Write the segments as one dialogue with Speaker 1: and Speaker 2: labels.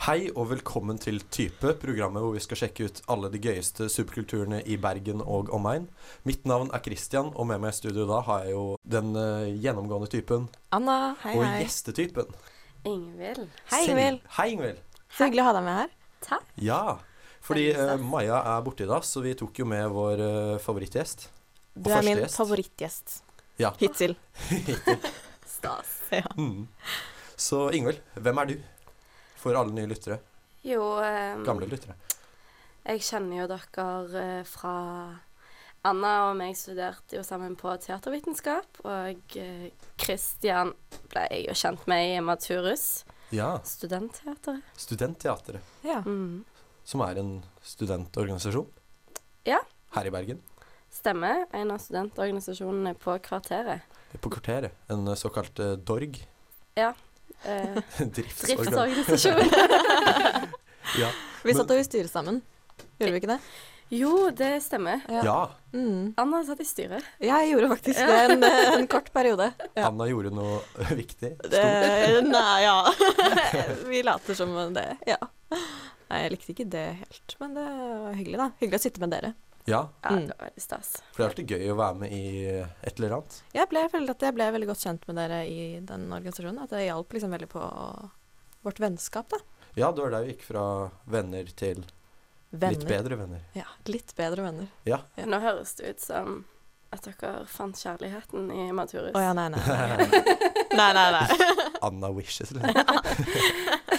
Speaker 1: Hei og velkommen til Type, programmet hvor vi skal sjekke ut alle de gøyeste subkulturene i Bergen og omegn. Mitt navn er Christian, og med meg i studio da har jeg jo den eh, gjennomgående typen
Speaker 2: Anna, hei,
Speaker 1: og
Speaker 2: hei.
Speaker 1: gjestetypen.
Speaker 3: Ingvild.
Speaker 2: Hei,
Speaker 1: Selv-
Speaker 2: Ingvild.
Speaker 1: Hei, Ingvild.
Speaker 2: Så hyggelig å ha deg med her.
Speaker 3: Takk.
Speaker 1: Ja, fordi
Speaker 3: Hei, Lisa.
Speaker 1: eh, Maja er borte i dag, så vi tok jo med vår eh, favorittgjest.
Speaker 2: Du er
Speaker 1: første
Speaker 2: min
Speaker 1: gjest.
Speaker 2: favorittgjest.
Speaker 1: Ja.
Speaker 2: Hittil.
Speaker 3: Stas.
Speaker 1: Mm. Så Ingvild, hvem er du? For alle nye lyttere.
Speaker 3: Jo, ehm,
Speaker 1: Gamle lyttere.
Speaker 3: jeg kjenner jo dere eh, fra Anna og meg studerte jo sammen på teatervitenskap, og eh, Christian ble jeg jo kjent med i Maturus,
Speaker 1: Ja.
Speaker 3: studentteateret.
Speaker 1: Studentteatret,
Speaker 2: Ja.
Speaker 3: Mm.
Speaker 1: som er en studentorganisasjon
Speaker 3: Ja.
Speaker 1: her i Bergen.
Speaker 3: Stemmer. En av studentorganisasjonene på Kvarteret.
Speaker 1: På kvarteret. En eh, såkalt eh, DORG.
Speaker 3: Eh,
Speaker 1: Driftsorgan.
Speaker 3: driftsorganisasjon.
Speaker 1: Ja.
Speaker 2: Vi satt jo i styret sammen. Gjorde vi ikke det?
Speaker 3: jo, det stemmer.
Speaker 1: ja.
Speaker 2: Mm.
Speaker 3: Anna satt i styret.
Speaker 2: Jeg gjorde faktisk det en, en kort periode. Ja.
Speaker 1: Anna gjorde noe viktig.
Speaker 2: Det, nei, ja. Vi later som det. Ja. Nei, jeg likte ikke det helt, men det var hyggelig, da. Hyggelig å sitte med dere.
Speaker 1: Ja,
Speaker 3: Ja,
Speaker 2: Mm.
Speaker 3: det var veldig stas.
Speaker 1: for det er alltid gøy å være med i eh, et eller annet.
Speaker 2: Jeg ble, jeg føler at jeg ble veldig godt kjent med dere i den organisasjonen. At det hjalp liksom veldig på vårt vennskap, da.
Speaker 1: Ja, det var der vi gikk fra venner til litt
Speaker 2: Venner.
Speaker 1: bedre venner.
Speaker 2: Ja, litt bedre venner. Ja.
Speaker 3: Nå høres det ut som at dere fant kjærligheten i Maturus.
Speaker 2: Å ja, nei, nei. Nei, nei, nei. nei.
Speaker 1: Anna wishes, liksom.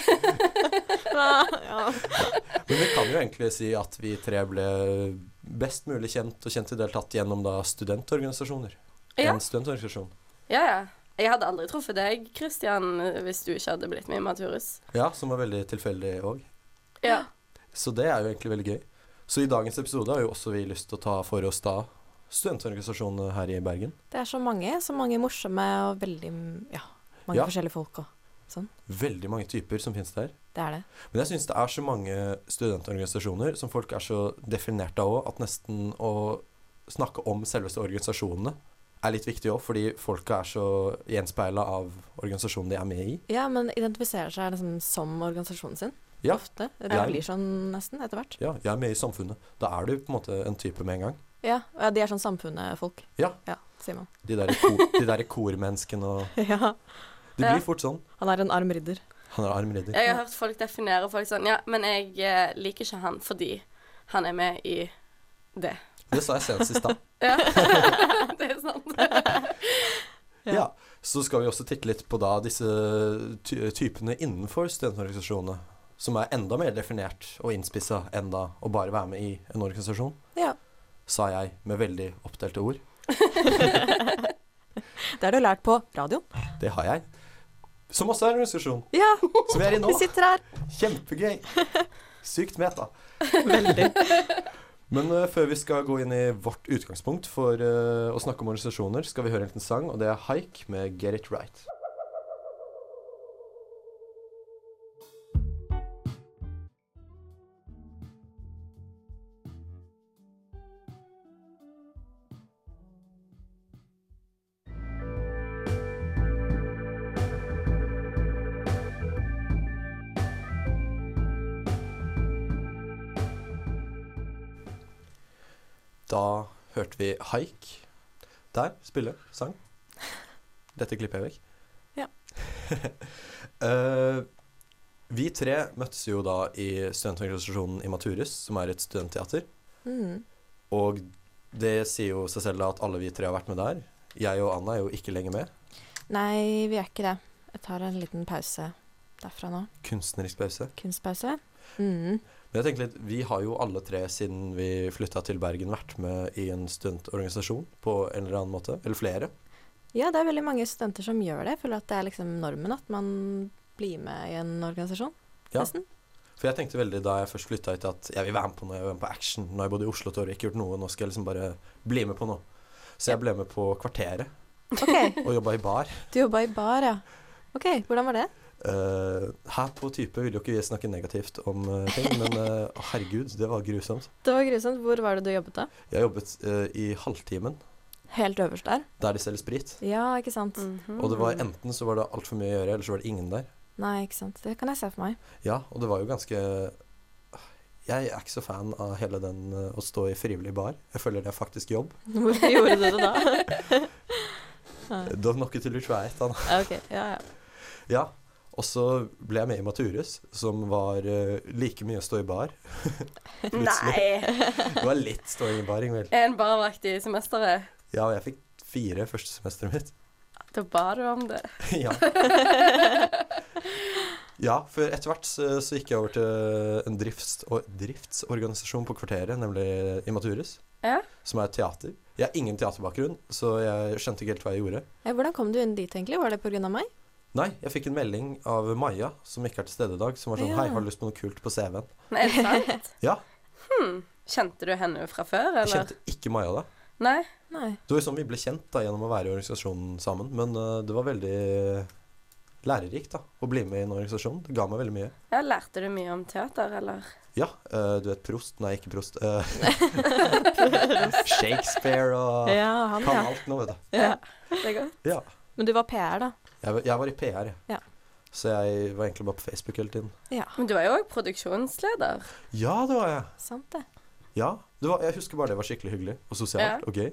Speaker 2: Ja.
Speaker 1: Men vi kan jo egentlig si at vi tre ble best mulig kjent og kjent til deltatt gjennom da studentorganisasjoner.
Speaker 3: Ja.
Speaker 1: En studentorganisasjon.
Speaker 3: Ja, ja. Jeg hadde aldri truffet deg, Christian, hvis du ikke hadde blitt med i Maturus.
Speaker 1: Ja, som var veldig tilfeldig òg.
Speaker 3: Ja.
Speaker 1: Så det er jo egentlig veldig gøy. Så i dagens episode har jo også vi lyst til å ta for oss da studentorganisasjonene her i Bergen.
Speaker 2: Det er så mange, så mange morsomme og veldig Ja, mange
Speaker 1: Ja.
Speaker 2: forskjellige folk òg.
Speaker 1: Veldig mange typer som finnes der.
Speaker 2: Det er det.
Speaker 1: Men jeg syns det er så mange studentorganisasjoner som folk er så definert av òg, at nesten å snakke om selveste organisasjonene er litt viktig òg, fordi folka er så gjenspeila av organisasjonen de er med i.
Speaker 2: Ja, men identifiserer seg liksom som organisasjonen sin.
Speaker 1: Ja.
Speaker 2: Ofte. Det
Speaker 1: Ja.
Speaker 2: blir sånn nesten etter hvert.
Speaker 1: Ja, jeg er med i samfunnet. Da er du på en måte en type med en gang.
Speaker 2: Ja, ja de er sånn samfunnet-folk.
Speaker 1: Ja.
Speaker 2: ja. Sier man.
Speaker 1: De der, ko de der kormenneskene og
Speaker 2: Ja.
Speaker 1: Det
Speaker 3: Ja.
Speaker 1: blir fort sånn.
Speaker 2: Han er en arm ridder.
Speaker 1: Han er arm ridder.
Speaker 3: Jeg har hørt folk definere folk sånn Ja, men jeg eh, liker ikke han fordi han er med i det.
Speaker 1: Det sa jeg senest i stad.
Speaker 3: Ja. det er sant.
Speaker 2: Ja.
Speaker 1: Ja. Så skal vi også titte litt på da disse ty typene innenfor studentorganisasjonene, som er enda mer definert og innspissa enn da å bare være med i en organisasjon,
Speaker 2: Ja.
Speaker 1: sa jeg med veldig oppdelte ord.
Speaker 2: Det har du lært på radioen.
Speaker 1: Det har jeg. Som også er en organisasjon,
Speaker 2: Ja,
Speaker 1: som vi er i nå.
Speaker 2: vi sitter her.
Speaker 1: Kjempegøy. Sykt meta.
Speaker 2: Veldig.
Speaker 1: Men eh, før vi skal gå inn i vårt utgangspunkt for eh, å snakke om organisasjoner, skal vi høre en liten sang, og det er Haik med 'Get It Right'. Da hørte vi Haik der spille sang. Dette klipper jeg vekk.
Speaker 2: Ja.
Speaker 1: Eh, vi tre møttes jo da i studentorganisasjonen Imaturus, som er et studentteater.
Speaker 2: Mm.
Speaker 1: Og det sier jo seg selv da at alle vi tre har vært med der. Jeg og Anna er jo ikke lenger med.
Speaker 2: Nei, vi er ikke det. Jeg tar en liten pause derfra nå.
Speaker 1: Kunstnerisk pause.
Speaker 2: Kunstpause. Mm.
Speaker 1: Men jeg tenker litt, vi har jo alle tre siden vi flytta til Bergen vært med i en studentorganisasjon på en eller annen måte. Eller flere.
Speaker 2: Ja, det er veldig mange studenter som gjør det. Jeg føler at det er liksom normen at man blir med i en organisasjon,
Speaker 1: Ja.
Speaker 2: nesten.
Speaker 1: For jeg tenkte veldig da jeg først flytta hit at jeg vil være med på noe, jeg vil være med på action. Nå har jeg bodd i Oslo et år og ikke gjort noe, nå skal jeg liksom bare bli med på noe. Så jeg ble med på Kvarteret
Speaker 2: Ok,
Speaker 1: og jobba i bar.
Speaker 2: du jobba i bar, ja. Ok, hvordan var det?
Speaker 1: Eh, her på Type vil jo ikke vi snakke negativt om eh, ting, men eh, herregud, det var grusomt.
Speaker 2: Det var grusomt. Hvor var det du jobbet da?
Speaker 1: Jeg jobbet eh, i halvtimen,
Speaker 2: Helt øverst der. Mm.
Speaker 1: der de selger sprit.
Speaker 2: Ja, ikke sant.
Speaker 3: Mhm.
Speaker 1: Og det var enten så var det altfor mye å gjøre, eller så var det ingen der.
Speaker 2: Nei, ikke sant. Det kan jeg se for meg.
Speaker 1: Ja, og det var jo ganske Jeg er ikke så fan av hele den eh, å stå i frivillig bar. Jeg føler det er faktisk jobb.
Speaker 2: Hvorfor gjorde dere det da?
Speaker 1: Don't knock it till you try it, da.
Speaker 2: Ja, ok, ja, ja.
Speaker 1: Ja. Og så ble jeg med i Maturus, som var eh, like mye å stå i bar. Plutselig.
Speaker 3: Nei!
Speaker 1: Det var litt ståing i bar, Ingvild.
Speaker 3: En barvakt i semesteret.
Speaker 1: Ja, og jeg fikk fire første semesteret mitt.
Speaker 3: Da ba du om det.
Speaker 1: ja. ja, for etter hvert så, så gikk jeg over til en drifts, og, driftsorganisasjon på kvarteret, nemlig Immaturus,
Speaker 3: Ja.
Speaker 1: som er et teater. Jeg har ingen teaterbakgrunn, så jeg skjønte ikke helt hva jeg gjorde.
Speaker 2: Ja, Hvordan kom du inn dit, egentlig? Var det pga. meg?
Speaker 1: Nei, jeg fikk en melding av Maja, som ikke er til stede i dag, som var sånn
Speaker 2: Ja.
Speaker 1: Hei, har du lyst på noe kult på CV-en?
Speaker 3: Nei, er det sant?
Speaker 1: Ja.
Speaker 3: Hmm. Kjente du henne fra før, eller?
Speaker 1: Jeg kjente ikke Maja da.
Speaker 3: Nei?
Speaker 2: Nei.
Speaker 1: Det var jo sånn vi ble kjent da, gjennom å være i organisasjonen sammen, men eh, det var veldig lærerikt da, å bli med i en organisasjon. Det ga meg veldig mye.
Speaker 3: Ja, lærte du mye om teater, eller?
Speaker 1: Ja, eh, du vet prost Nei, ikke prost. eh, Shakespeare og
Speaker 2: Ja, han,
Speaker 1: Kan
Speaker 2: ja.
Speaker 1: alt nå, vet du.
Speaker 2: ja.
Speaker 3: Det er godt.
Speaker 1: Ja.
Speaker 2: Men du var PR, da?
Speaker 1: Jeg, var- jeg var i PR, jeg.
Speaker 2: Ja.
Speaker 1: Så jeg var egentlig bare på Facebook hele tiden.
Speaker 2: Ja,
Speaker 3: Men du er jo òg produksjonsleder.
Speaker 1: Ja, det var jeg.
Speaker 2: sant det.
Speaker 1: Ja, det var, Jeg husker bare det var skikkelig hyggelig og sosialt og gøy.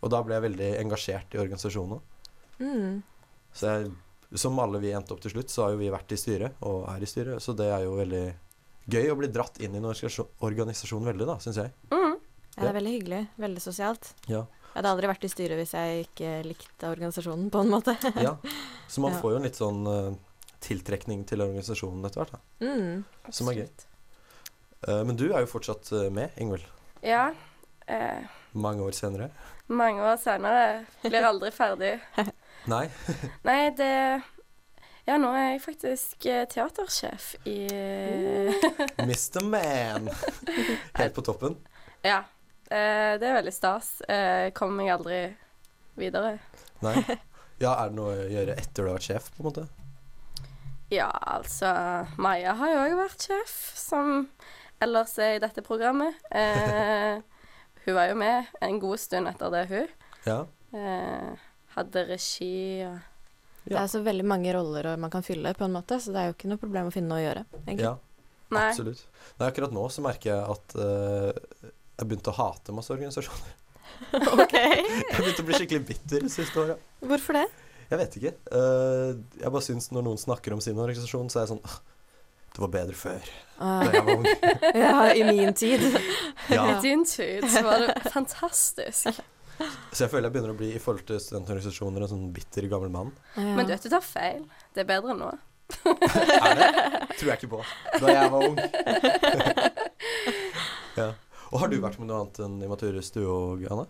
Speaker 1: Og da ble jeg veldig engasjert i organisasjonen.
Speaker 2: Mm.
Speaker 1: Så jeg, som alle vi endte opp til slutt, så har jo vi vært i styret, og er i styret, så det er jo veldig gøy å bli dratt inn i en organisasjon, organisasjon veldig, da, syns jeg.
Speaker 3: Mm.
Speaker 2: Ja, det er veldig hyggelig. Veldig sosialt.
Speaker 1: Ja.
Speaker 2: Jeg hadde aldri vært i styret hvis jeg ikke likte organisasjonen, på en måte.
Speaker 1: ja. Så man
Speaker 2: Ja.
Speaker 1: får jo en litt sånn eh, tiltrekning til organisasjonen etter hvert, da.
Speaker 2: Mm.
Speaker 1: Som er gøy.
Speaker 3: Absolutt.
Speaker 1: Eh, Men du er jo fortsatt eh, med, Ingvild.
Speaker 3: Ja. Eh,
Speaker 1: Mange år senere.
Speaker 3: mange år senere. Blir aldri ferdig.
Speaker 1: Nei.
Speaker 3: Nei, det Ja, nå er jeg faktisk eh, teatersjef i
Speaker 1: Mr. Man. Helt på toppen.
Speaker 3: Ja. Eh, det er veldig stas. Eh, kommer meg aldri videre.
Speaker 1: Nei. Ja, er det noe å gjøre etter du har vært sjef, på en måte?
Speaker 3: Ja, altså Maja har jo òg vært sjef, som ellers er i dette programmet. Eh, hun var jo med en god stund etter det, hun.
Speaker 1: Ja.
Speaker 3: Eh, hadde regi og
Speaker 2: Det er så veldig mange roller og man kan fylle, på en måte, så det er jo ikke noe problem å finne noe å gjøre. egentlig.
Speaker 1: ja
Speaker 3: Nei.
Speaker 1: absolutt. Nei, akkurat nå så merker jeg at eh, jeg begynte å hate masse organisasjoner.
Speaker 2: ok.
Speaker 1: Jeg begynte å bli skikkelig bitter det siste året.
Speaker 2: Hvorfor det?
Speaker 1: Jeg vet ikke. Eh, jeg bare syns når noen snakker om sin organisasjon, så er jeg sånn «Åh, Det var bedre før, da
Speaker 2: Ah,
Speaker 1: jeg var ung.
Speaker 2: ja, i min tid.
Speaker 1: Ja.
Speaker 3: I din tid så var det fantastisk.
Speaker 1: Så jeg føler jeg begynner å bli i forhold til studentorganisasjoner en sånn bitter gammel mann.
Speaker 2: Ja.
Speaker 3: Men du vet du tar feil. Det er bedre nå.
Speaker 1: Er det? Tror jeg ikke på. Da jeg var ung. ja. Og har du vært med noe annet enn i Maturus, du og Anne?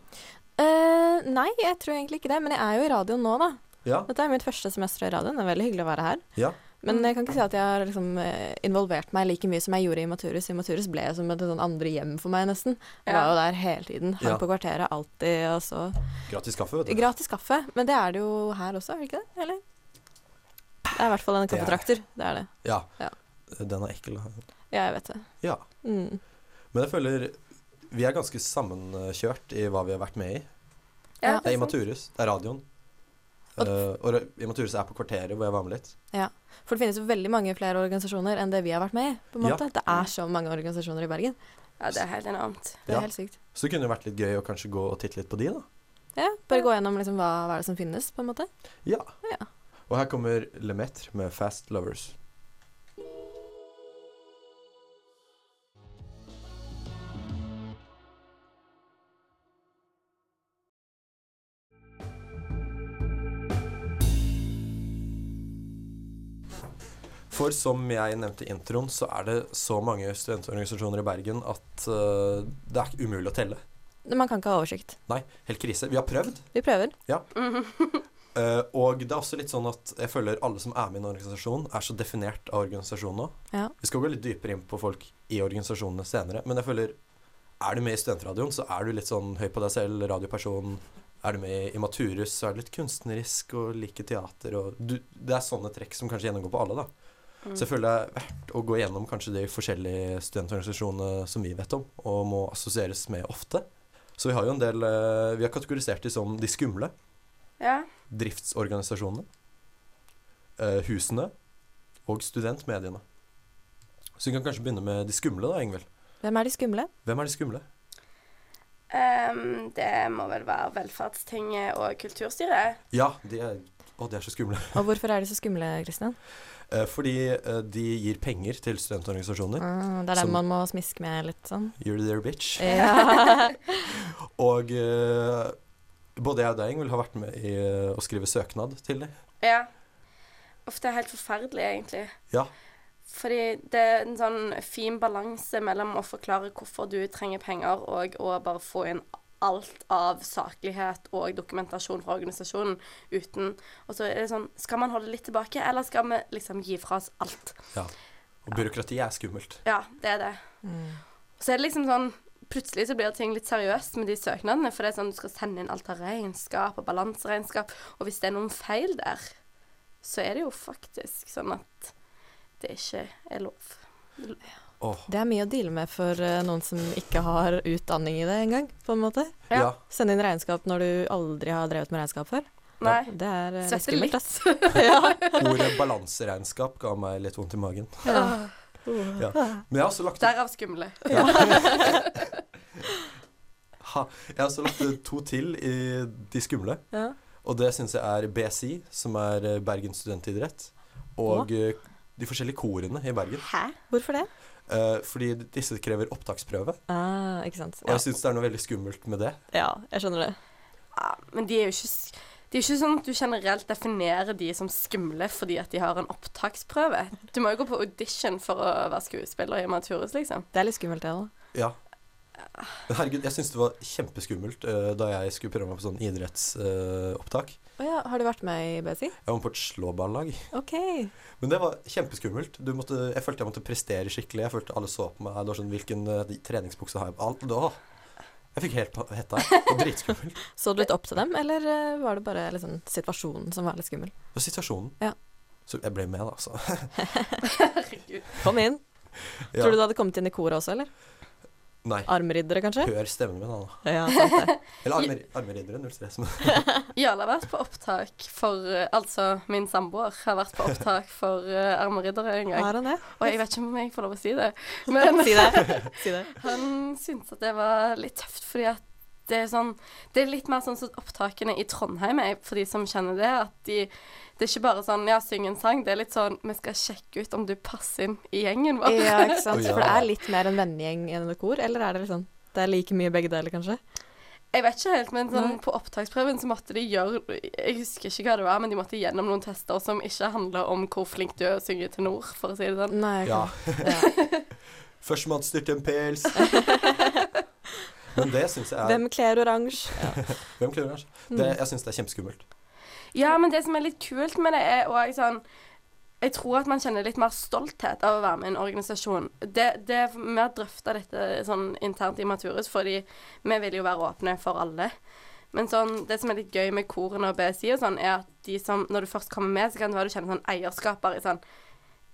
Speaker 2: Eh, nei, jeg tror egentlig ikke det, men jeg er jo i radioen nå, da.
Speaker 1: Ja.
Speaker 2: Dette er mitt første semester i radioen. Det er veldig hyggelig å være her.
Speaker 1: ja.
Speaker 2: Men jeg kan ikke si at jeg har liksom, eh, involvert meg like mye som jeg gjorde i Maturus. I Maturus ble jeg som et sånn andre hjem for meg, nesten. Jeg
Speaker 3: Ja.
Speaker 2: var jo der hele tiden. Hang
Speaker 1: Ja.
Speaker 2: på kvarteret alltid. Og så.
Speaker 1: Gratis kaffe, vet du.
Speaker 2: Gratis kaffe, men det er det jo her også, er det ikke det? Eller? Det er i hvert fall en
Speaker 1: Det er-
Speaker 2: kaffetrakter. Det er det.
Speaker 1: Ja.
Speaker 2: Ja.
Speaker 1: Den er ekkel.
Speaker 2: Ja, jeg vet det.
Speaker 1: Ja.
Speaker 2: Mm.
Speaker 1: Men jeg føler vi er ganske sammenkjørt i hva vi har vært med i.
Speaker 2: Ja.
Speaker 1: Det er i Maturus, det er radioen.
Speaker 2: Og-
Speaker 1: Eh, og ra- i Maturus er på kvarteret, hvor jeg var med litt.
Speaker 2: For det finnes jo veldig mange flere organisasjoner enn det vi har vært med i. på en
Speaker 1: Ja.
Speaker 2: måte. Det er så mange organisasjoner i Bergen.
Speaker 3: Ja, det er helt enormt.
Speaker 2: Det er
Speaker 1: Ja.
Speaker 2: helt sykt.
Speaker 1: Så det kunne jo vært litt gøy å kanskje gå og titte litt på de, da.
Speaker 2: Ja, Bare gå gjennom liksom, hva, hva er det som finnes, på en måte.
Speaker 1: Og her kommer Lemaitre med 'Fast Lovers'. For som jeg nevnte i introen, så er det så mange studentorganisasjoner i Bergen at eh, det er umulig å telle.
Speaker 2: Man kan ikke ha oversikt.
Speaker 1: Nei, helt krise. Vi har prøvd.
Speaker 2: Vi prøver.
Speaker 1: Eh, og det er også litt sånn at jeg føler alle som er med i en organisasjon, er så definert av organisasjonen nå.
Speaker 2: Ja.
Speaker 1: Vi skal gå litt dypere inn på folk i organisasjonene senere, men jeg føler er du med i Studentradioen, så er du litt sånn høy på deg selv, radioperson. Er du med i Maturus, så er du litt kunstnerisk og liker teater og du, Det er sånne trekk som kanskje gjennomgår på alle, da.
Speaker 3: Mm.
Speaker 1: Så jeg føler det er verdt å gå gjennom kanskje de forskjellige studentorganisasjonene som vi vet om, og må assosieres med ofte. Så vi har jo en del eh, Vi har kategorisert de som de skumle
Speaker 3: Ja.
Speaker 1: driftsorganisasjonene, eh, husene, og studentmediene. Så vi kan kanskje begynne med de skumle, da, Ingvild.
Speaker 2: Hvem er de skumle?
Speaker 1: Hvem er de skumle?
Speaker 3: Ehm, det må vel være Velferdstinget og Kulturstyret.
Speaker 1: Ja, de er Å, de er så skumle.
Speaker 2: Og hvorfor er de så skumle, Kristian?
Speaker 1: Eh, Fordi eh, de gir penger til studentorganisasjoner.
Speaker 2: Ah, det er
Speaker 1: Som-
Speaker 2: dem man må smiske med litt sånn.
Speaker 1: You're their bitch.
Speaker 2: Ja.
Speaker 1: Og eh, både jeg og deg, Ingvild, har vært med i eh, å skrive søknad til dem.
Speaker 3: Ja. Uff, det er helt forferdelig, egentlig.
Speaker 1: Ja.
Speaker 3: Fordi det er en sånn fin balanse mellom å forklare hvorfor du trenger penger, og å bare få inn alt av saklighet og dokumentasjon fra organisasjonen uten Og så er det sånn Skal man holde litt tilbake, eller skal vi liksom gi fra oss alt?
Speaker 1: Og byråkrati er skummelt.
Speaker 3: Ja, det er det.
Speaker 2: Mm.
Speaker 3: Så er det liksom sånn Plutselig så blir ting litt seriøst med de søknadene, for det er sånn du skal sende inn alt av regnskap og balanseregnskap, og hvis det er noen feil der, så er det jo faktisk sånn at det ikke er lov.
Speaker 1: Åh,
Speaker 2: Det er mye å deale med for eh, noen som ikke har utdanning i det engang, på en måte.
Speaker 3: Ja.
Speaker 1: ja.
Speaker 2: Sende inn regnskap når du aldri har drevet med regnskap før.
Speaker 3: Nei.
Speaker 2: Det er eh, litt
Speaker 3: Svetter litt.
Speaker 2: skummelt, ass. ja.
Speaker 1: Ordet balanseregnskap ga meg litt vondt i magen.
Speaker 3: Åh,
Speaker 2: Oh.
Speaker 1: Ja. Men jeg har også lagt ut,
Speaker 3: Derav skumle.
Speaker 1: ja. ha, jeg har også lagt ut to til i de skumle.
Speaker 2: Ja.
Speaker 1: Og det syns jeg er BSI, som er eh, Bergen studentidrett, og eh, de forskjellige korene i Bergen.
Speaker 3: Hæ?
Speaker 2: Hvorfor det?
Speaker 1: Eh, fordi disse krever opptaksprøve.
Speaker 2: Ah, ikke sant.
Speaker 1: Og
Speaker 2: Ja.
Speaker 1: jeg syns det er noe veldig skummelt med det.
Speaker 2: ja, jeg skjønner det.
Speaker 3: Ja, men de er jo ikke s- det er ikke sånn at du generelt definerer de som skumle fordi at de har en opptaksprøve. Du må jo gå på audition for å være skuespiller i Maturus, liksom.
Speaker 2: Det er litt skummelt, det òg.
Speaker 1: Ja. Men Herregud, jeg syns det var kjempeskummelt eh, da jeg skulle prøve meg på sånn idrettsopptak.
Speaker 2: Å ja, har du vært med i BSI?
Speaker 1: jeg var på et slåballag.
Speaker 2: OK.
Speaker 1: Men det var kjempeskummelt. Du måtte, jeg følte jeg måtte prestere skikkelig. Jeg følte alle så på meg. Det var sånn, Hvilken eh, de- treningsbukse har jeg på? Alt da. Jeg fikk helt pa- hetta. Det var dritskummelt.
Speaker 2: Så du litt opp til dem, eller eh, var det bare liksom, situasjonen som var litt skummel?
Speaker 1: Det var situasjonen.
Speaker 2: Ja.
Speaker 1: Så jeg ble med, da, altså.
Speaker 3: Herregud.
Speaker 2: Kom inn.
Speaker 1: Ja.
Speaker 2: Tror du du hadde kommet inn i koret også, eller?
Speaker 1: Nei.
Speaker 2: Armriddere, kanskje?
Speaker 1: Hør stemmen min, da.
Speaker 2: Ja, sant det.
Speaker 1: Eller armer, armerriddere. Null stress. Men
Speaker 3: Jarle har vært på opptak for eh, Altså, min samboer har vært på opptak for uh, Armeriddere en gang.
Speaker 2: Har han det?
Speaker 3: Og jeg vet ikke om jeg får lov å si det, men
Speaker 2: Si det. Si det.
Speaker 3: han syntes at det var litt tøft, fordi at det er sånn Det er litt mer sånn som opptakene i Trondheim er, for de som kjenner det, at de Det er ikke bare sånn ja, syng en sang, det er litt sånn vi skal sjekke ut om du passer inn i gjengen vår.
Speaker 2: Ja, ikke sant.
Speaker 1: Å, ja.
Speaker 2: For det er litt mer en vennegjeng enn et kor, eller er det liksom Det er like mye begge deler, kanskje?
Speaker 3: Jeg vet ikke helt, men sånn,
Speaker 2: Nei.
Speaker 3: på opptaksprøven så måtte de gjøre Jeg husker ikke hva det var, men de måtte gjennom noen tester som ikke handla om hvor flink du er å synge tenor, for å si det sånn.
Speaker 2: Nei,
Speaker 1: ja.
Speaker 2: ja.
Speaker 1: Førstemann styrte en pels. Men det syns jeg er Hvem,
Speaker 2: Hvem kler oransje? Mm. Ja.
Speaker 1: kler oransje?
Speaker 3: Mm.
Speaker 1: Det, jeg syns det er kjempeskummelt.
Speaker 3: Ja, men det som er litt kult med det, er òg sånn Jeg tror at man kjenner litt mer stolthet av å være med i en organisasjon. Det, det, vi har drøfta dette sånn internt i Maturus, fordi vi vil jo være åpne for alle. Men sånn, det som er litt gøy med korene og BSI og sånn, er at de som, når du først kommer med, så kan det være du kjenner sånn eierskaper i sånn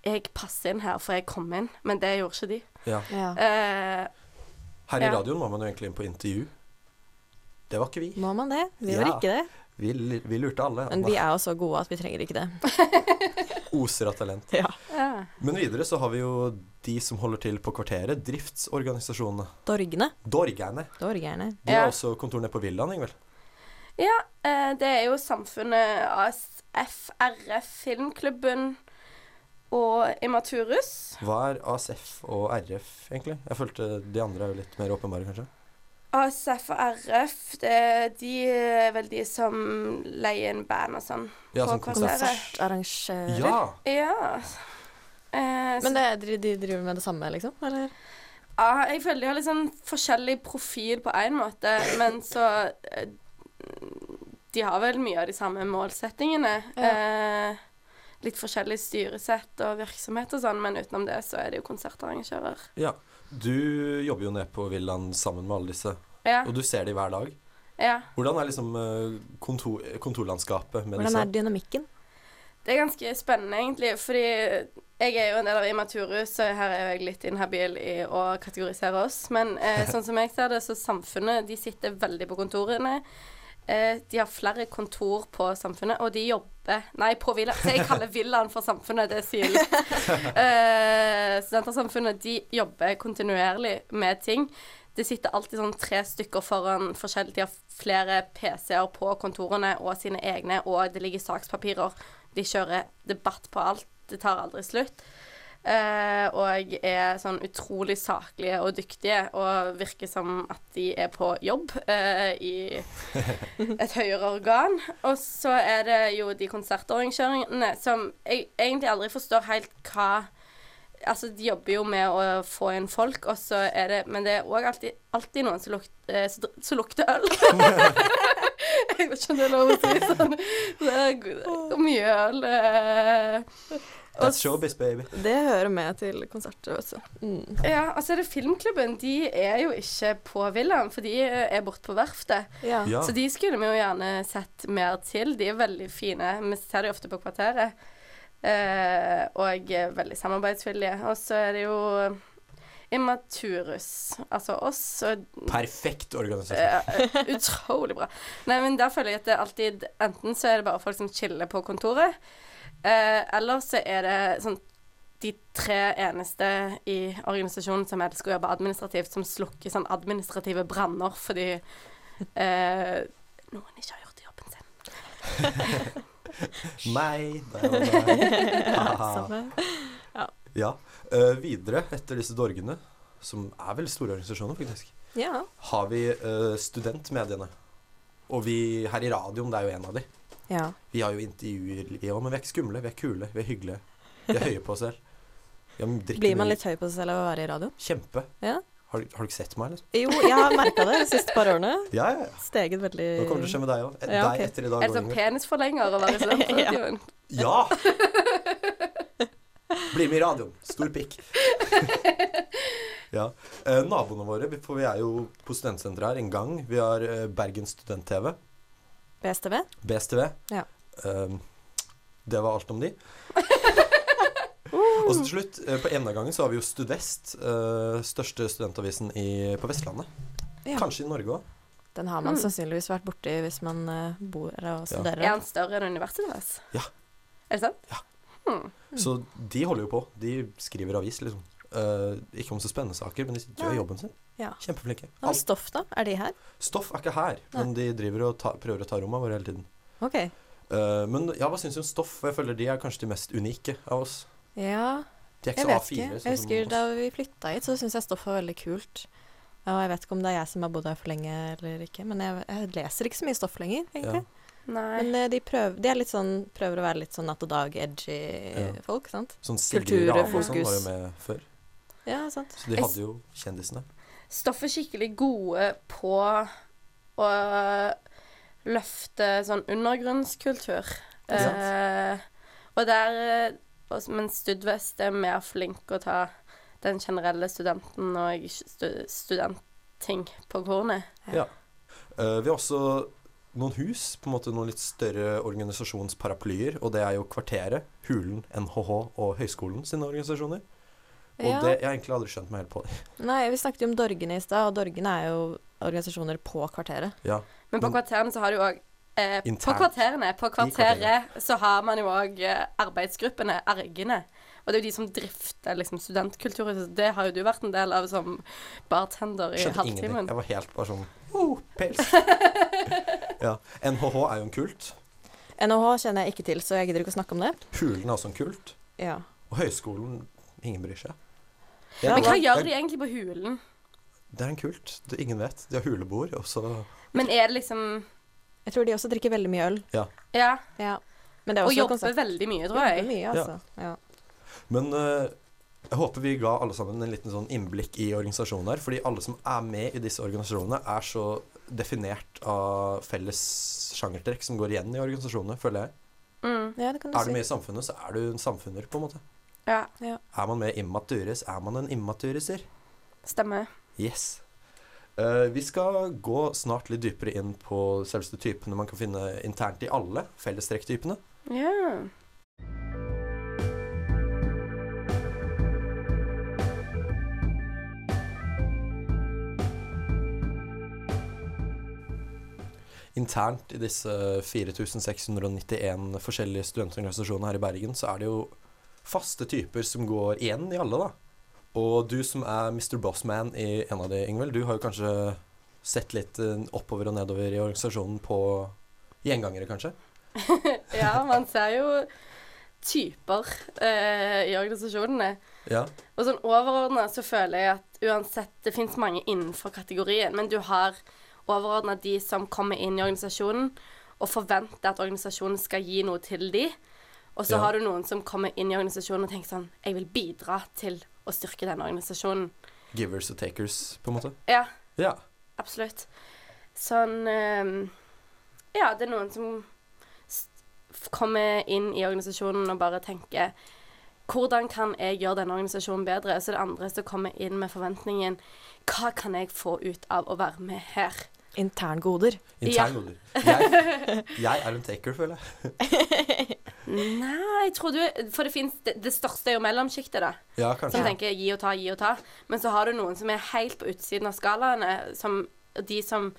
Speaker 3: Jeg passer inn her, for jeg kom inn, men det gjorde ikke de.
Speaker 1: Ja.
Speaker 2: Ja.
Speaker 3: Eh,
Speaker 1: Her i
Speaker 3: Ja.
Speaker 1: radioen må man jo egentlig inn på intervju. Det var ikke vi.
Speaker 2: Må man det? Vi
Speaker 1: Ja.
Speaker 2: gjør ikke det.
Speaker 1: Vi, l- vi lurte alle.
Speaker 2: Men vi er jo så gode at vi trenger ikke det.
Speaker 1: Oser av talent.
Speaker 2: Ja.
Speaker 3: ja.
Speaker 1: Men videre så har vi jo de som holder til på kvarteret, driftsorganisasjonene.
Speaker 2: Dorgene.
Speaker 1: Dorgerne.
Speaker 2: Dorgerne.
Speaker 1: De har
Speaker 3: Ja.
Speaker 1: også kontor nede på villaen, Ingvild.
Speaker 3: Ja, eh, det er jo Samfunnet ASF, RF, Filmklubben og Imaturus.
Speaker 1: Hva er ASF og RF, egentlig? Jeg følte de andre er jo litt mer åpenbare, kanskje.
Speaker 3: ASF og RF, det, de er vel de som leier inn band og sånn.
Speaker 1: Ja,
Speaker 3: På
Speaker 1: sånn
Speaker 2: Altså,
Speaker 3: kvarteret.
Speaker 1: konsert.
Speaker 2: Konsertarrangører.
Speaker 1: Ja!
Speaker 3: Ja. Eh,
Speaker 2: Men
Speaker 3: så,
Speaker 2: det, de, de driver med det samme, liksom? Eller?
Speaker 3: ja, jeg føler de har litt sånn forskjellig profil på én måte, men så eh, De har vel mye av de samme målsettingene.
Speaker 2: Ja.
Speaker 3: Eh, litt forskjellig styresett og virksomhet og sånn, men utenom det så er det jo konsertarrangører.
Speaker 1: ja. Du jobber jo nede på villaen sammen med alle disse,
Speaker 3: Ja,
Speaker 1: og du ser de hver dag.
Speaker 3: ja.
Speaker 1: Hvordan er liksom eh, kontor, kontorlandskapet med
Speaker 2: Hvordan
Speaker 1: disse?
Speaker 2: er dynamikken?
Speaker 3: Det er ganske spennende, egentlig, fordi jeg er jo en del av Imaturus, så her er jeg litt inhabil i å kategorisere oss. Men eh, sånn som jeg ser det, så samfunnet de sitter veldig på kontorene. Eh, de har flere kontor på Samfunnet, og de jobber Nei, på Villaen. Så jeg kaller Villaen for Samfunnet, det sier litt. Eh, studentersamfunnet de jobber kontinuerlig med ting. Det sitter alltid sånn tre stykker foran forskjellig. De har flere PC-er på kontorene og sine egne, og det ligger sakspapirer. De kjører debatt på alt. Det tar aldri slutt. Eh, og er sånn utrolig saklige og dyktige, og virker som at de er på jobb eh, i et høyere organ. Og så er det jo de konsertarrangørene som jeg egentlig aldri forstår helt hva Altså, de jobber jo med å få inn folk, og så er det Men det er òg alltid, alltid noen som lukter, eh, som- som lukter øl. jeg vet ikke om det er lov å si sånn. Det er g- mye øl. Eh. og
Speaker 1: That's showbiz, baby.
Speaker 2: Det hører med til konserter også. Mm.
Speaker 3: Ja, og så er det filmklubben. De er jo ikke på villaen, for de er borte på verftet.
Speaker 2: Ja.
Speaker 1: Ja.
Speaker 3: Så de skulle vi jo gjerne sett mer til. De er veldig fine. Vi ser de ofte på Kvarteret. Eh, og er veldig samarbeidsvillige. Og så er det jo Immaturus, altså oss. Og
Speaker 1: Perfekt organisasjon.
Speaker 3: ja, Eh, utrolig bra. Nei, men der føler jeg at det alltid Enten så er det bare folk som chiller på kontoret, eh, eller så er det sånn de tre eneste i organisasjonen som elsker å jobbe administrativt, som slukker sånn administrative branner fordi eh, noen ikke har gjort jobben sin.
Speaker 1: Meg, deg og meg. Ha-ha.
Speaker 2: Samme.
Speaker 1: ja. Eh, videre, etter disse dorgene, som er veldig store organisasjoner, faktisk,
Speaker 2: ja.
Speaker 1: har vi eh, studentmediene. Og vi her i radioen, det er jo en av de.
Speaker 2: ja.
Speaker 1: Vi har jo intervjuer ja, men vi er ikke skumle, vi er kule, vi er hyggelige. Vi er høye på oss selv. Ja, men drikker
Speaker 2: Blir man
Speaker 1: mye.
Speaker 2: litt høy på seg selv av å være i radio?
Speaker 1: Kjempe.
Speaker 2: Ja.
Speaker 1: Har, du- har du ikke sett meg, liksom?
Speaker 2: Jo, jeg har merka det de siste par årene.
Speaker 1: Ja, ja, ja.
Speaker 2: Steget veldig
Speaker 1: Nå kommer det til å skje med deg òg.
Speaker 2: Ja, ok.
Speaker 1: Deg etter i dag.
Speaker 3: Er det sånn
Speaker 1: Ingvild.
Speaker 3: penisforlenger sånn? å være i studentradioen?
Speaker 1: Ja! Bli med i radioen. Stor pikk. ja. Eh, naboene våre, vi- for vi er jo på studentsenteret her en gang. Vi har eh, Bergen Student-TV,
Speaker 2: BSTV.
Speaker 1: BSTV.
Speaker 2: Ja.
Speaker 1: Eh, det var alt om de. Og så til slutt, eh, på enden av gangen, så har vi jo Studest. Eh, største studentavisen i, på Vestlandet.
Speaker 2: Ja.
Speaker 1: Kanskje i Norge òg.
Speaker 2: Den har man
Speaker 3: Mm.
Speaker 2: sannsynligvis vært borti hvis man eh, bor og studerer.
Speaker 3: Er han større enn universitetet vårt?
Speaker 1: Ja.
Speaker 3: Er det sant? Hmm.
Speaker 1: Så de holder jo på. De skriver avis, liksom. Eh, ikke om så spennende saker, men de gjør
Speaker 2: Nei.
Speaker 1: jobben sin.
Speaker 2: Ja.
Speaker 1: Kjempeflinke.
Speaker 2: Ja, men Stoff, da? Er de her?
Speaker 1: Stoff er ikke her,
Speaker 2: Nei.
Speaker 1: men de driver og ta, prøver å ta rommene våre hele tiden.
Speaker 2: OK.
Speaker 1: Eh, men ja, hva syns du om stoff? For Jeg føler de er kanskje de mest unike av oss.
Speaker 2: Ja,
Speaker 1: De er
Speaker 2: jeg
Speaker 1: ikke
Speaker 2: vet
Speaker 1: så sånn
Speaker 2: ikke.
Speaker 1: A4.
Speaker 2: Jeg husker da vi flytta hit, så syntes jeg stoffet var veldig kult. Og jeg vet ikke om det er jeg som har bodd her for lenge eller ikke, men jeg, jeg leser ikke så mye stoff lenger, egentlig.
Speaker 3: Nei.
Speaker 2: Men eh, de, prøv, de er litt sånn, prøver å være litt sånn natt og dag-edgy
Speaker 1: Ja.
Speaker 2: folk, sant?
Speaker 1: Sånn Sigrid
Speaker 2: Kultur og
Speaker 1: Rafoss var jo
Speaker 2: fokus.
Speaker 1: med før.
Speaker 2: Ja, sant.
Speaker 1: Så de
Speaker 3: Jeg s-
Speaker 1: hadde jo kjendisene.
Speaker 3: Stoff er skikkelig gode på å løfte sånn undergrunnskultur.
Speaker 1: Ikke sant?
Speaker 3: Eh, og der eh, og- Men Studvest er mer flink å ta den generelle studenten og stu, studentting på kornet.
Speaker 1: Eh, vi har også noen hus, på en måte noen litt større organisasjonsparaplyer, og det er jo Kvarteret, Hulen, NHH og Høgskolen sine organisasjoner. Og
Speaker 2: Ja.
Speaker 1: det jeg har egentlig aldri skjønt meg helt på.
Speaker 2: Nei, vi snakket jo om Dorgene i stad, og Dorgene er jo organisasjoner på kvarteret.
Speaker 1: Ja,
Speaker 3: Men på
Speaker 1: Men-
Speaker 3: kvarterene så har du òg eh, på
Speaker 1: Mm. Internt.
Speaker 3: kvarterene, på kvarteret
Speaker 1: kvarteret.
Speaker 3: så har man jo òg eh, arbeidsgruppene, ergene. Og det er jo de som drifter liksom, studentkulturen. så Det har jo du vært en del av som bartender i
Speaker 1: skjønte ingenting.
Speaker 3: halvtimen.
Speaker 1: Jeg var helt bare sånn oh, pels. ja. NHH er jo en kult.
Speaker 2: NHH kjenner jeg ikke til, så jeg gidder ikke å snakke om det.
Speaker 1: Hulen er også en kult.
Speaker 2: Ja.
Speaker 1: Og høyskolen Ingen bryr seg. Det
Speaker 2: Ja,
Speaker 1: er,
Speaker 3: Men hva gjør
Speaker 1: det,
Speaker 3: de egentlig på hulen?
Speaker 1: er, det er en kult. Det ingen vet. De har hulebord, og så
Speaker 3: Men er det liksom
Speaker 2: Jeg tror de også drikker veldig mye øl.
Speaker 3: Ja.
Speaker 2: Ja. Men det er
Speaker 3: Og
Speaker 2: også
Speaker 3: jobber veldig mye, tror
Speaker 2: Jobber
Speaker 3: jeg.
Speaker 2: mye, altså. Ja.
Speaker 1: Men eh, jeg håper vi ga alle sammen en liten sånn innblikk i organisasjonen her. Fordi alle som er med i disse organisasjonene, er så definert av felles sjangertrekk som går igjen i organisasjonene, føler jeg.
Speaker 3: Mm.
Speaker 2: Ja, det kan du
Speaker 1: Er du
Speaker 2: si.
Speaker 1: med i samfunnet, så er du en samfunner, på en måte.
Speaker 3: Ja,
Speaker 1: Er man med i Immatures, er man en immaturiser.
Speaker 3: stemmer.
Speaker 1: Yes. Eh, vi skal gå snart litt dypere inn på selveste typene man kan finne internt i alle fellestrekktypene.
Speaker 3: Ja.
Speaker 1: internt i disse 4691 forskjellige studentorganisasjonene her i Bergen, så er det jo faste typer som går igjen i alle, da. Og du som er Mr. Bossman i en av de, Ingvild, du har jo kanskje sett litt eh, oppover og nedover i organisasjonen på gjengangere, kanskje?
Speaker 3: ja, man ser jo typer eh, i organisasjonene.
Speaker 1: Ja.
Speaker 3: Og sånn overordna så føler jeg at uansett Det fins mange innenfor kategorien, men du har overordna de som kommer inn i organisasjonen og forventer at organisasjonen skal gi noe til de. Og så
Speaker 1: Ja.
Speaker 3: har du noen som kommer inn i organisasjonen og tenker sånn Jeg vil bidra til å styrke denne organisasjonen.
Speaker 1: Givers og takers, på en måte.
Speaker 3: Ja,
Speaker 1: Ja.
Speaker 3: absolutt. Sånn ehm, Ja, det er noen som s- f- kommer inn i organisasjonen og bare tenker hvordan kan jeg gjøre denne organisasjonen bedre? Så er det andre som kommer inn med forventningen Hva kan jeg få ut av å være med her?
Speaker 2: Interngoder.
Speaker 1: Intern moder. Jeg, jeg er en taker, føler jeg.
Speaker 3: Nei, jeg tror du For det finnes det, det største er jo mellomsjiktet, da.
Speaker 1: Ja,
Speaker 3: Som
Speaker 1: kanskje.
Speaker 3: tenker gi og ta, gi og ta. Men så har du noen som er helt på utsiden av skalaene. Som de som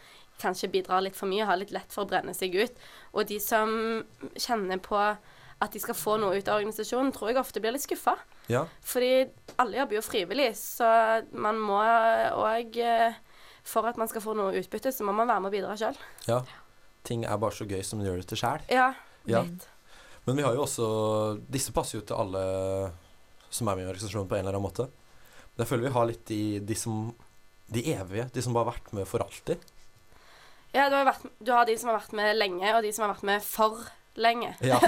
Speaker 3: kanskje bidrar litt for mye, har litt lett for å brenne seg ut. Og de som kjenner på at de skal få noe ut av organisasjonen, tror jeg ofte blir litt skuffa.
Speaker 1: Ja.
Speaker 3: Fordi alle jobber jo frivillig, så man må òg For at man skal få noe utbytte, så må man være med og bidra sjøl.
Speaker 1: ja. Ting er bare så gøy som du gjør det til sjæl.
Speaker 3: Ja.
Speaker 1: Ja.
Speaker 3: Litt.
Speaker 1: Men vi har jo også Disse passer jo til alle som er med i organisasjonen på en eller annen måte. Men Jeg føler vi har litt de, de som De evige. De som bare har vært med for alltid.
Speaker 3: ja du, har vært, du har de som har vært med lenge, og de som har vært med for lenge.
Speaker 1: Ja.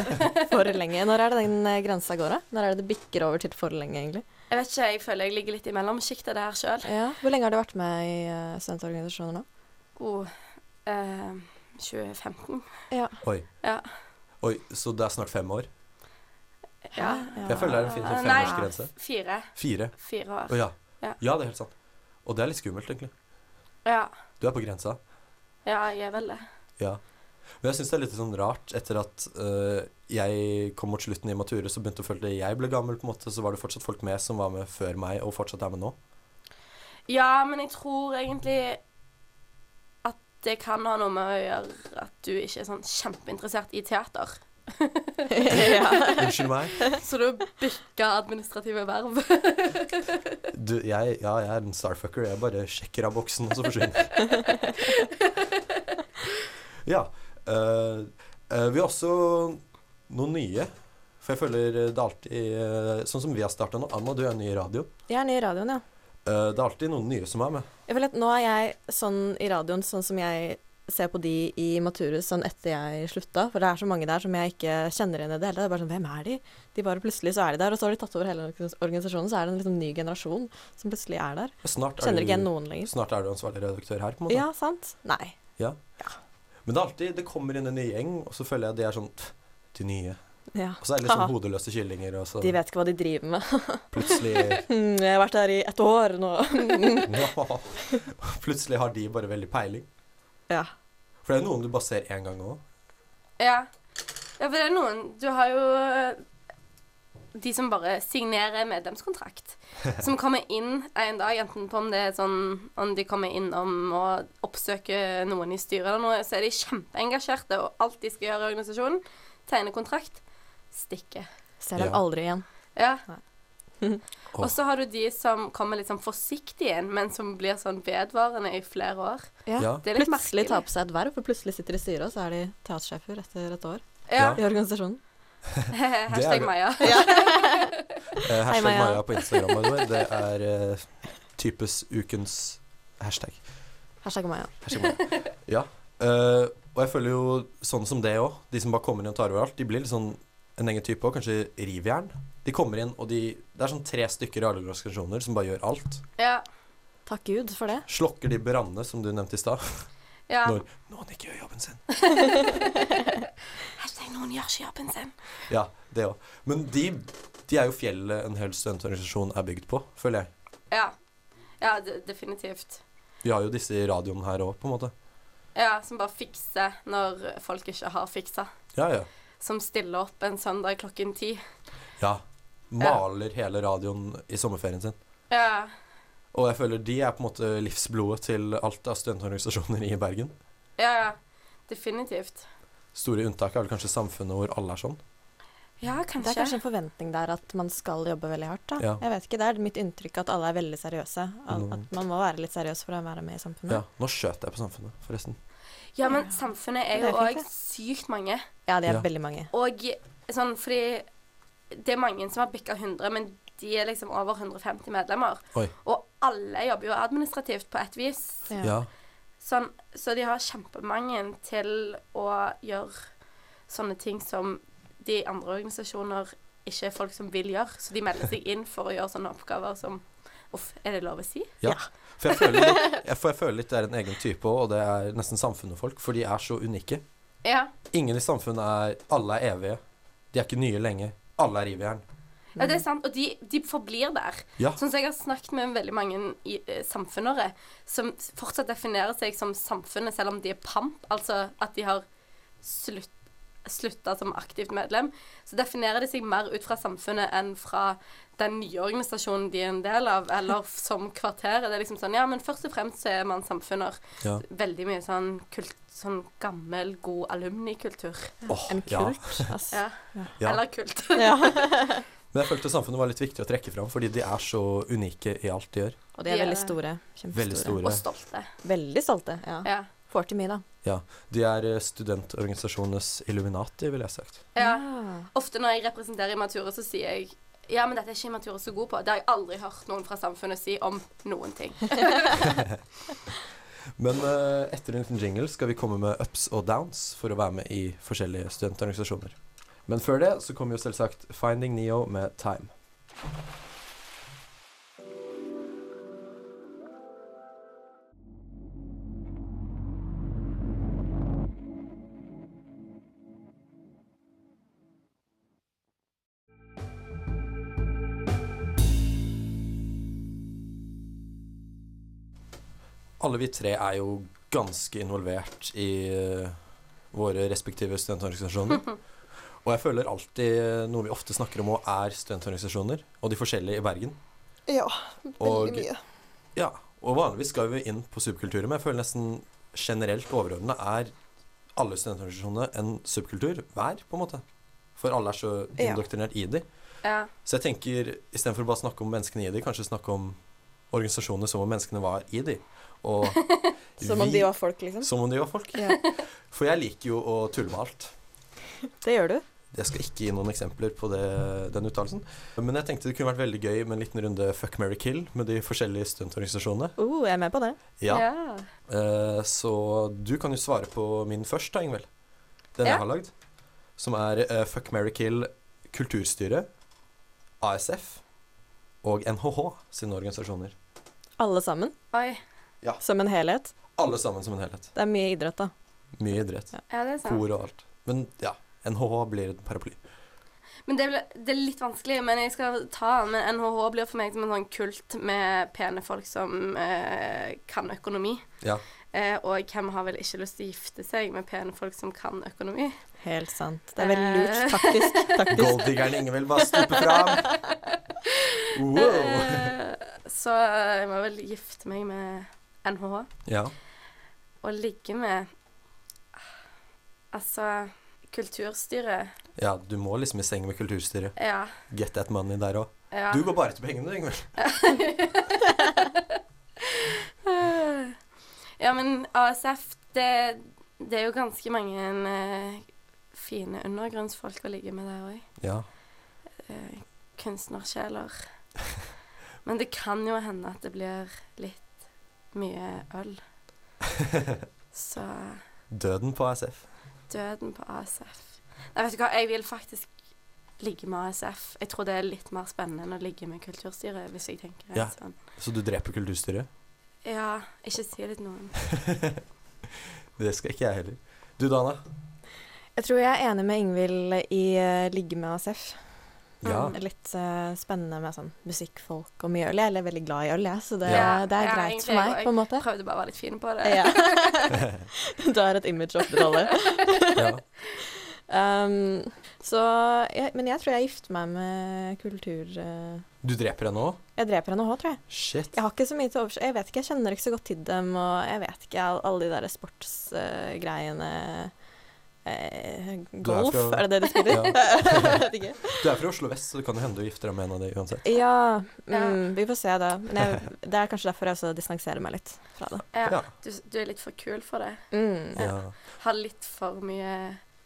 Speaker 2: For lenge. Når er det den eh, grensa går, da? Når er det det bikker over til for lenge, egentlig?
Speaker 3: Jeg vet ikke, jeg føler jeg ligger litt i mellomsjiktet der sjøl.
Speaker 2: Ja. Hvor lenge har du vært med i eh, studentorganisasjoner nå?
Speaker 3: God eh, 2015.
Speaker 1: Oi.
Speaker 3: Ja.
Speaker 1: Oi, så det er snart fem år?
Speaker 3: Ja.
Speaker 1: Jeg føler det er en fin
Speaker 3: Eh,
Speaker 1: sånn
Speaker 3: nei,
Speaker 1: femårsgrense.
Speaker 3: Fire.
Speaker 1: Fire.
Speaker 3: Fire
Speaker 1: Å
Speaker 3: år.
Speaker 1: ja.
Speaker 3: Ja.
Speaker 1: Ja, det er helt sant. Og det er litt skummelt, egentlig.
Speaker 3: Ja.
Speaker 1: Du er på grensa.
Speaker 3: ja, jeg er vel det.
Speaker 1: Ja. Men jeg syns det er litt sånn rart etter at eh, jeg kom mot slutten i Mature, så begynte å føle at jeg ble gammel, på en måte, så var det fortsatt folk med som var med før meg, og fortsatt er med nå.
Speaker 3: Ja, men jeg tror egentlig at det kan ha noe med å gjøre at du ikke er sånn kjempeinteressert i teater.
Speaker 2: ja.
Speaker 1: Unnskyld meg.
Speaker 3: Så du bytter administrative verv.
Speaker 1: Du, jeg, ja, jeg er en starfucker. Jeg bare sjekker av boksen, og så forsvinner Ja. eh, eh, vi har også noen nye. For jeg føler det er alltid eh, Sånn som vi har starta nå. Anna, du er ny i radio.
Speaker 2: Jeg er ny i radioen, ja.
Speaker 1: Eh, det er alltid noen nye som er med.
Speaker 2: Jeg føler at nå er jeg sånn i radioen, sånn som jeg ser på de i Maturus sånn etter jeg slutta. For det er så mange der som jeg ikke kjenner igjen i det hele. Det er bare sånn, hvem er de? De bare plutselig så er de der, og så har de tatt over hele organi- organisasjonen. Så er det en liksom ny generasjon som plutselig er der.
Speaker 1: Snart er,
Speaker 2: Kjenner ikke igjen
Speaker 1: du,
Speaker 2: noen lenger.
Speaker 1: snart er du ansvarlig redaktør her, på en måte.
Speaker 2: Ja, sant? Nei.
Speaker 1: Men det er alltid Det kommer inn en ny gjeng, og så føler jeg de er sånn «Pff, De nye.
Speaker 2: Ja.
Speaker 1: Og så er det litt sånn
Speaker 2: Haha.
Speaker 1: hodeløse kyllinger, og så
Speaker 2: De vet ikke hva de driver med.
Speaker 1: plutselig
Speaker 2: Jeg har vært der i ett år nå.
Speaker 1: Ja. Plutselig har de bare veldig peiling.
Speaker 2: Ja.
Speaker 1: For det er noen du bare ser én gang òg.
Speaker 3: Ja. ja, for det er noen Du har jo eh, de som bare signerer medlemskontrakt. Som kommer inn en dag, enten på om det er sånn Om de kommer innom og oppsøker noen i styret eller noe, så er de kjempeengasjerte, og alt de skal gjøre i organisasjonen, tegne kontrakt, stikke.
Speaker 2: Ser dem
Speaker 1: Ja.
Speaker 2: aldri igjen.
Speaker 3: Ja.
Speaker 1: Åh.
Speaker 3: Og så har du de som kommer litt sånn forsiktig inn, men som blir sånn vedvarende i flere år.
Speaker 2: Ja.
Speaker 1: Ja.
Speaker 3: Det er litt
Speaker 2: Plutselig
Speaker 3: merkelig.
Speaker 2: tar på seg et verv, for plutselig sitter de i styret, og så er de teatersjefer etter et år
Speaker 3: Ja.
Speaker 2: i organisasjonen.
Speaker 1: det.
Speaker 3: Hashtag Maja.
Speaker 1: Eh, hashtag
Speaker 2: Maja.
Speaker 1: Maja på Instagram, by the way. Det er eh, types ukens hashtag.
Speaker 2: Hashtag meg, ja.
Speaker 1: Hashtag Maja. Ja. Eh, og jeg føler jo sånn som det òg. De som bare kommer inn og tar over alt, de blir litt sånn en egen type òg. Kanskje rivjern. De kommer inn, og de Det er sånn tre stykker i alle organisasjoner som bare gjør alt.
Speaker 3: Ja.
Speaker 2: Takk Gud for det.
Speaker 1: Slokker de brannene som du nevnte i stad.
Speaker 3: ja.
Speaker 1: Når noen ikke gjør jobben sin.
Speaker 3: Hashtag noen gjør ikke jobben sin.
Speaker 1: Ja, det òg. Men de, de er jo fjellet en hel studentorganisasjon er bygd på, føler jeg.
Speaker 3: Ja. Ja, de definitivt.
Speaker 1: Vi har jo disse i radioen her òg, på en måte.
Speaker 3: Ja, som bare fikser når folk ikke har fiksa.
Speaker 1: Ja, ja.
Speaker 3: Som stiller opp en søndag klokken ti.
Speaker 1: ja. Maler hele radioen i sommerferien sin.
Speaker 3: Ja.
Speaker 1: Og jeg føler de er på en måte livsblodet til alt av studentorganisasjoner i Bergen.
Speaker 3: Ja, ja. Definitivt.
Speaker 1: Store unntaket er vel kanskje samfunnet hvor alle er sånn.
Speaker 3: Ja,
Speaker 2: Det
Speaker 3: kanskje.
Speaker 2: er kanskje en forventning der at man skal jobbe veldig hardt. da.
Speaker 1: Ja.
Speaker 2: Jeg vet ikke, Det er mitt inntrykk at alle er veldig seriøse. At,
Speaker 1: Mm.
Speaker 2: at man må være litt seriøs for å være med i samfunnet.
Speaker 1: Ja, nå skjøt jeg på samfunnet, forresten.
Speaker 3: Ja, men samfunnet er
Speaker 2: Det
Speaker 3: jo
Speaker 2: er fint,
Speaker 3: òg
Speaker 2: det.
Speaker 3: sykt mange.
Speaker 2: Ja, de er
Speaker 1: Ja.
Speaker 2: veldig mange.
Speaker 3: Og sånn fordi Det er mange som har bikka 100, men de er liksom over 150 medlemmer.
Speaker 1: Oi.
Speaker 3: Og alle jobber jo administrativt på et vis.
Speaker 2: Ja.
Speaker 1: Ja.
Speaker 3: Sånn, så de har kjempemange til å gjøre sånne ting som de i andre organisasjoner ikke er folk som vil gjøre. Så de melder seg inn for å gjøre sånne oppgaver som Uff, er det lov å si?
Speaker 1: Ja. For jeg føler, litt, jeg, for jeg føler litt det er en egen type òg, og det er nesten samfunnet og folk, for de er så unike.
Speaker 3: Ja.
Speaker 1: Ingen i samfunnet er Alle er evige. De er ikke nye lenge. Alle er rivjern.
Speaker 3: ja det er sant. Og de, de forblir der.
Speaker 1: Ja.
Speaker 3: Sånn som jeg har snakket med veldig mange i, eh, samfunnere som fortsatt definerer seg som samfunnet, selv om de er pamp, altså at de har slutt, slutta som aktivt medlem, så definerer de seg mer ut fra samfunnet enn fra den nye organisasjonen de er en del av, eller f- som kvarteret. Det er liksom sånn Ja, men først og fremst så er man samfunner.
Speaker 1: Ja.
Speaker 3: Veldig mye sånn kult Sånn gammel, god alumnikultur.
Speaker 1: Åh,
Speaker 2: En
Speaker 1: ja.
Speaker 2: kult, ass.
Speaker 3: Ja.
Speaker 1: Ja.
Speaker 3: Eller kult.
Speaker 2: Ja.
Speaker 1: Men jeg følte samfunnet var litt viktig å trekke fram, fordi de er så unike i alt de gjør.
Speaker 2: Og de er
Speaker 3: De er-
Speaker 2: veldig store.
Speaker 1: Veldig
Speaker 2: Kjempestore.
Speaker 3: Og
Speaker 1: store.
Speaker 3: stolte.
Speaker 2: Veldig stolte. ja.
Speaker 3: Ja.
Speaker 2: Får til mye, da.
Speaker 1: De er eh, studentorganisasjonenes Illuminati, ville jeg sagt.
Speaker 3: ja.
Speaker 2: Ja.
Speaker 3: Ofte når jeg representerer Imatura, så sier jeg ja, men dette er ikke Imatura så god på. Det har jeg aldri hørt noen fra samfunnet si om noen ting.
Speaker 1: Men eh, etter en liten jingle skal vi komme med ups og downs for å være med i forskjellige studentorganisasjoner. Men før det så kommer jo selvsagt Finding Neo med Time. Alle vi tre er jo ganske involvert i eh, våre respektive studentorganisasjoner. Og jeg føler alltid eh, noe vi ofte snakker om òg, er studentorganisasjoner. Og de forskjellige i Bergen.
Speaker 2: ja,
Speaker 1: Og- mye. Ja, og vanligvis skal vi inn på subkulturer, men jeg føler nesten generelt overordna er alle studentorganisasjonene en subkultur hver, på en måte. For alle er så
Speaker 2: Ja.
Speaker 1: indoktrinert i de.
Speaker 3: Ja.
Speaker 1: Så jeg tenker, istedenfor å bare snakke om menneskene i de, kanskje snakke om organisasjonene som om menneskene var i de. Og
Speaker 2: Som om
Speaker 1: vi-
Speaker 2: de var folk, liksom.
Speaker 1: som om de var folk.
Speaker 2: Ja.
Speaker 1: For jeg liker jo å tulle med alt.
Speaker 2: Det gjør du.
Speaker 1: Jeg skal ikke gi noen eksempler på det, den uttalelsen. Men jeg tenkte det kunne vært veldig gøy med en liten runde fuck, marry, kill med de forskjellige studentorganisasjonene.
Speaker 2: Uh, jeg er med på det.
Speaker 1: Ja. Eh, Så du kan jo svare på min først, da, Ingvild. Den
Speaker 3: Ja.
Speaker 1: jeg har lagd. Som er eh, Fuck, marry, kill, Kulturstyret, ASF og NHH sine organisasjoner.
Speaker 2: Alle sammen,
Speaker 3: Oi.
Speaker 2: som en helhet.
Speaker 1: Alle sammen som en helhet.
Speaker 2: Det er mye idrett, da.
Speaker 1: Mye idrett.
Speaker 3: Ja, det er sant.
Speaker 1: Kor og alt. Men ja, NHH blir et paraply.
Speaker 3: Men det, ble, det er litt vanskelig, men jeg skal ta den. Men NHH blir for meg som en sånn kult med pene folk som eh, kan økonomi.
Speaker 1: Ja.
Speaker 3: Eh, og hvem har vel ikke lyst til å gifte seg med pene folk som kan økonomi?
Speaker 2: Helt sant. Det er veldig lurt. Taktisk. taktisk.
Speaker 1: Golddiggeren Ingvild bare stuper fram. Wow.
Speaker 3: Eh, så jeg må vel gifte meg med NHH.
Speaker 1: Ja.
Speaker 3: Å ligge med Altså, kulturstyret
Speaker 1: ja, du må liksom i seng med Kulturstyret.
Speaker 3: Ja.
Speaker 1: Get that money der òg.
Speaker 3: ja.
Speaker 1: Du går bare til pengene, du, Ingvild.
Speaker 3: ja, men ASF, det, det er jo ganske mange eh, fine undergrunnsfolk å ligge med der òg.
Speaker 1: Ja.
Speaker 3: Eh, kunstnersjeler. Men det kan jo hende at det blir litt mye øl. Så
Speaker 1: Døden på ASF.
Speaker 3: døden på ASF Nei, vet du hva, jeg vil faktisk ligge med ASF. Jeg tror det er litt mer spennende enn å ligge med kulturstyret, hvis jeg tenker
Speaker 1: Ja.
Speaker 3: sånn.
Speaker 1: Så du dreper Kulturstyret?
Speaker 3: Ja, ikke si det til noen.
Speaker 1: Det skal ikke jeg heller. Du, Dana.
Speaker 2: Jeg tror jeg er enig med Ingvild i eh, ligge med ASF.
Speaker 1: Ja.
Speaker 3: Mm.
Speaker 2: Litt eh, spennende med sånn musikkfolk og mye øl. Jeg er veldig glad i øl, jeg, så det,
Speaker 3: Ja.
Speaker 2: det er
Speaker 3: Ja,
Speaker 2: greit
Speaker 3: egentlig
Speaker 2: for meg,
Speaker 3: jeg
Speaker 2: på en
Speaker 3: Jeg
Speaker 2: måte.
Speaker 3: prøvde bare å
Speaker 1: Mm.
Speaker 3: være litt fin på det.
Speaker 2: Ja. Du har et image å opprettholde.
Speaker 1: ja.
Speaker 2: Um, så jeg, Men jeg tror jeg gifter meg med kultur... eh,
Speaker 1: Du dreper henne òg?
Speaker 2: jeg dreper henne òg, tror jeg.
Speaker 1: Shit.
Speaker 2: Jeg har ikke så mye til overs... Jeg vet ikke, jeg kjenner ikke så godt til dem, og jeg vet ikke all- alle de der sportsgreiene eh, Golf,
Speaker 1: fra-
Speaker 2: er det det de spiller? jeg vet ikke.
Speaker 1: Du er fra Oslo vest, så det kan jo hende du gifter deg med en av de uansett.
Speaker 2: Ja,
Speaker 3: Ja.
Speaker 2: mm, vi får se da. Men jeg, det er kanskje derfor jeg også distanserer meg litt fra det.
Speaker 3: Ja,
Speaker 1: Ja.
Speaker 3: du, du er litt for kul for det.
Speaker 2: Mm.
Speaker 1: Ja.
Speaker 3: Har litt for mye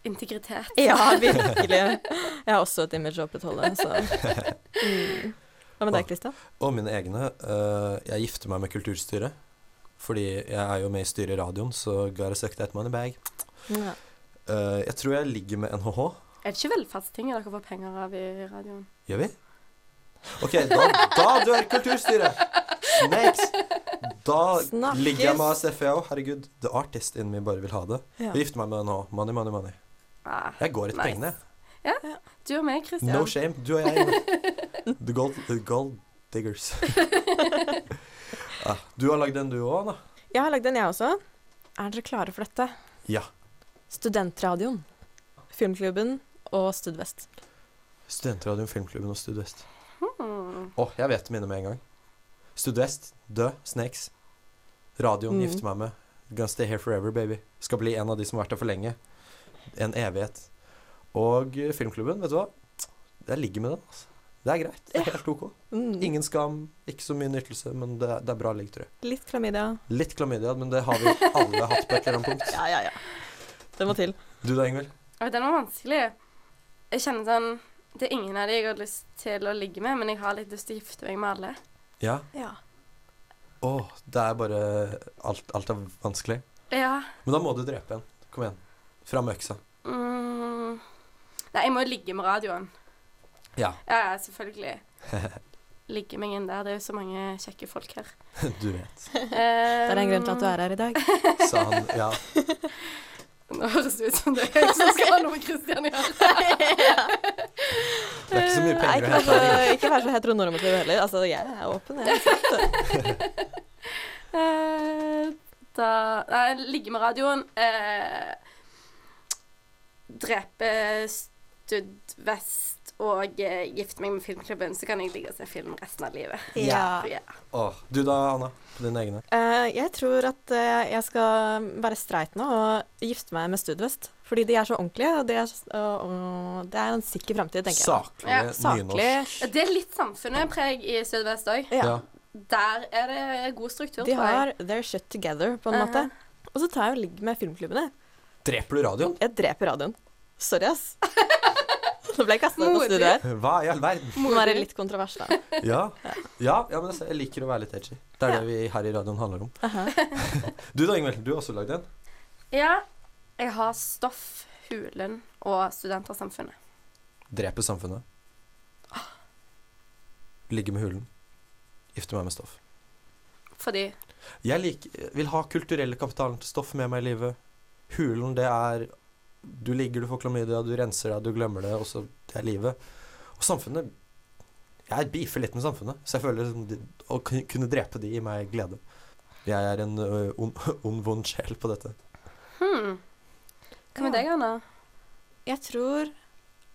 Speaker 3: integritet.
Speaker 2: Ja, virkelig. Jeg har også et image å opprettholde, så mm. Hva med deg, Kristian?
Speaker 1: Og mine egne. eh, jeg gifter meg med kulturstyret. Fordi jeg er jo med i styret i radioen, så gotta suck that money bag.
Speaker 2: Ja.
Speaker 1: Eh, jeg tror jeg ligger med NHH.
Speaker 3: Er det ikke velferdstinget dere får penger av i radioen?
Speaker 1: Gjør vi? OK, da, da dør kulturstyret! Snakes! Da
Speaker 2: Snakkes.
Speaker 1: ligger jeg med ASF, jeg òg. Herregud, the artist in me bare vil ha det.
Speaker 2: Ja.
Speaker 1: Jeg gifter meg med NHH. Money, money, money.
Speaker 3: Ah,
Speaker 1: Jeg går etter
Speaker 3: Nice.
Speaker 1: pengene.
Speaker 3: du og meg, Kristian.
Speaker 1: No shame. Du og jeg. The gold, the gold diggers. ah, du har lagd en, du òg, da.
Speaker 2: Jeg har lagd en, jeg også. Er dere klare for dette?
Speaker 1: Ja.
Speaker 2: Studentradioen, Filmklubben og Studvest.
Speaker 1: Studentradioen, Filmklubben og Studvest.
Speaker 3: Hmm.
Speaker 1: Åh, jeg vet mine med en gang. Studvest, Død, Snakes. Radioen
Speaker 2: Mm.
Speaker 1: gifter meg med. Gonna stay here forever, baby. Skal bli en av de som har vært der for lenge. En evighet. Og eh, Filmklubben, vet du hva? Jeg ligger med den. Altså. Det er greit. Det er helt ok.
Speaker 2: Mm.
Speaker 1: Ingen skam, ikke så mye nytelse, men det, er- det er bra ligg, tror jeg.
Speaker 2: Litt klamydia.
Speaker 1: Litt klamydia, men det har vi alle hatt på et eller annet punkt.
Speaker 2: Ja, ja, ja. Det må til.
Speaker 1: Du da, Ingvild?
Speaker 3: Oi, Den var vanskelig. Jeg kjenner sånn Det er ingen av de jeg har lyst til å ligge med, men jeg har litt lyst til å gifte meg med alle.
Speaker 1: Ja.
Speaker 2: Ja.
Speaker 1: Åh, det er bare alt, alt er vanskelig.
Speaker 3: Ja.
Speaker 1: Men da må du drepe en. Kom igjen. Fram med øksa.
Speaker 3: Mm. Nei, jeg må jo ligge med radioen.
Speaker 1: Ja.
Speaker 3: Ja, ja, selvfølgelig. Ligge meg inn der. Det er jo så mange kjekke folk her.
Speaker 1: Du vet.
Speaker 2: Det er en grunn til at du er her i dag.
Speaker 1: Sa han. Ja.
Speaker 3: Ehm, Nå høres det ut som det er jeg som skal ha noe med Kristian å gjøre.
Speaker 1: Det er ikke så mye
Speaker 2: Nei,
Speaker 1: penger
Speaker 2: ikke
Speaker 1: å
Speaker 2: vær
Speaker 1: hente.
Speaker 2: så, ikke vær så heteronormativ heller. Altså, jeg er åpen, jeg.
Speaker 3: Eh, Da Nei, ligge med radioen. Eh, drepe Stud Vest og eh, gifte meg med filmklubben, så kan jeg ligge og se film resten av livet.
Speaker 1: Ja.
Speaker 3: Ja.
Speaker 1: Åh, du da, Anna? På dine egne?
Speaker 2: Eh, jeg tror at eh, jeg skal være streit nå og gifte meg med Studvest. Fordi de er så ordentlige, og det er, s- og, og det er en sikker framtid, tenker jeg.
Speaker 1: Saklige
Speaker 3: Ja,
Speaker 1: nynorsk.
Speaker 2: Saklig.
Speaker 3: Det er litt samfunnet preg i Stud Vest òg.
Speaker 2: Ja.
Speaker 1: Ja.
Speaker 3: Der er det god struktur,
Speaker 2: De
Speaker 3: tror jeg.
Speaker 2: har their shit together, på en måte. Og så tar jeg og ligger med filmklubbene.
Speaker 1: Dreper du radioen?
Speaker 2: Jeg dreper radioen. Sorry, ass. Nå ble jeg kastet ut av
Speaker 3: Modig.
Speaker 2: studioet her.
Speaker 1: Hva i all verden?
Speaker 2: Må være litt kontrovers, da.
Speaker 1: Ja. Ja, ja, men altså, jeg liker å være litt edgy. Det er det vi her i radioen handler om.
Speaker 2: Aha.
Speaker 1: Du da, Ingvild? Du har også lagd en?
Speaker 3: Ja. Jeg har Stoff, Hulen og Studentersamfunnet.
Speaker 1: Dreper samfunnet. Ligger med hulen. Gifter meg med stoff.
Speaker 3: Fordi
Speaker 1: Jeg lik, vil ha kulturelle kapitalen til stoff med meg i livet. Hulen, det er Du ligger, du får klamydia, du renser deg, du glemmer det, og så det er livet. Og samfunnet Jeg beefer litt med samfunnet, så jeg føler liksom, det- å kun- kunne drepe de gir meg glede. Jeg er en ø, ond, ond vond sjel på dette.
Speaker 3: Hm. Hva med
Speaker 2: Ja.
Speaker 3: deg, Anna?
Speaker 2: Jeg tror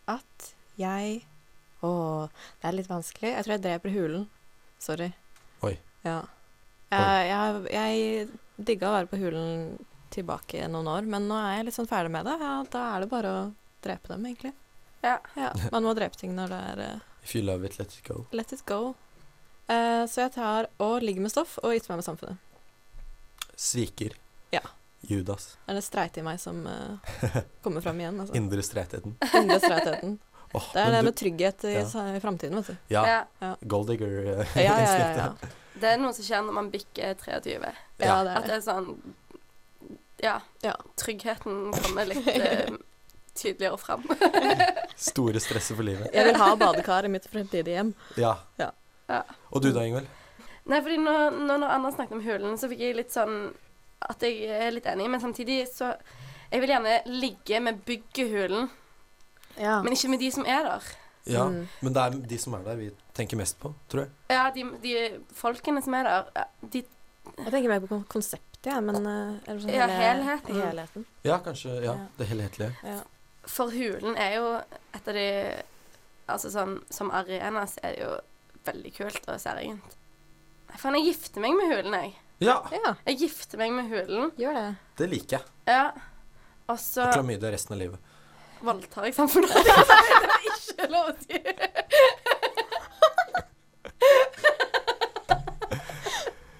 Speaker 2: at jeg Å, det er litt vanskelig. Jeg tror jeg dreper hulen. Sorry.
Speaker 1: Oi.
Speaker 2: Ja. Jeg, jeg, jeg digga å være på hulen tilbake i noen år, men nå er jeg litt sånn ferdig med det. Ja, da er det bare å drepe dem, egentlig.
Speaker 3: Ja.
Speaker 2: man må drepe ting når det er eh,
Speaker 1: If you love it, let it go.
Speaker 2: Let it go. Eh, så jeg tar og ligger med stoff og gifter meg med samfunnet.
Speaker 1: Sviker.
Speaker 2: Ja.
Speaker 1: Judas.
Speaker 2: Det er det streite i meg som eh, kommer fram igjen. Altså.
Speaker 1: Indre streitheten.
Speaker 2: Indre streitheten.
Speaker 1: Åh,
Speaker 2: Det er det
Speaker 1: men
Speaker 2: med trygghet i,
Speaker 1: Ja.
Speaker 2: i framtiden, vet du.
Speaker 1: du, ja,
Speaker 3: Ja.
Speaker 1: gold digger.
Speaker 2: Ja, ja, ja. ja.
Speaker 3: Det er noe som skjer når man bikker 23.
Speaker 2: Ja, det
Speaker 3: At
Speaker 2: er det.
Speaker 3: det er sånn Ja.
Speaker 2: Ja.
Speaker 3: Tryggheten kommer litt eh, tydeligere fram.
Speaker 1: Store stresset for livet.
Speaker 2: Jeg vil ha badekar i mitt fremtidige hjem.
Speaker 1: Ja.
Speaker 2: Ja.
Speaker 3: Ja.
Speaker 1: Og du da, Ingvild?
Speaker 3: Nei, fordi nå, nå når Anna snakket om hulen, så fikk jeg litt sånn At jeg er litt enig, men samtidig så Jeg vil gjerne ligge med bygget hulen,
Speaker 2: Ja.
Speaker 3: men ikke med de som er der.
Speaker 1: Ja.
Speaker 2: Mm.
Speaker 1: Men det er de som er der, vi tenker mest på, tror jeg.
Speaker 3: Ja, de, de folkene som er der, ja, de
Speaker 2: Jeg tenker mer på kon- konseptet, jeg, men eh, eller sånn
Speaker 3: Ja,
Speaker 2: hele-
Speaker 3: helheten.
Speaker 2: helheten.
Speaker 1: Ja, kanskje. Ja,
Speaker 2: Ja.
Speaker 1: det helhetlige.
Speaker 2: Ja.
Speaker 3: For Hulen er jo et av de Altså sånn som arena så er det jo veldig kult og særegent. Nei, faen, jeg gifter meg med Hulen, jeg.
Speaker 1: Ja,
Speaker 2: Ja,
Speaker 3: Jeg gifter meg med Hulen.
Speaker 2: gjør det.
Speaker 1: det liker jeg.
Speaker 3: Ja. Og så
Speaker 1: Klamydia resten av livet.
Speaker 3: voldtar jeg samfunnet. Det er ikke lov å si.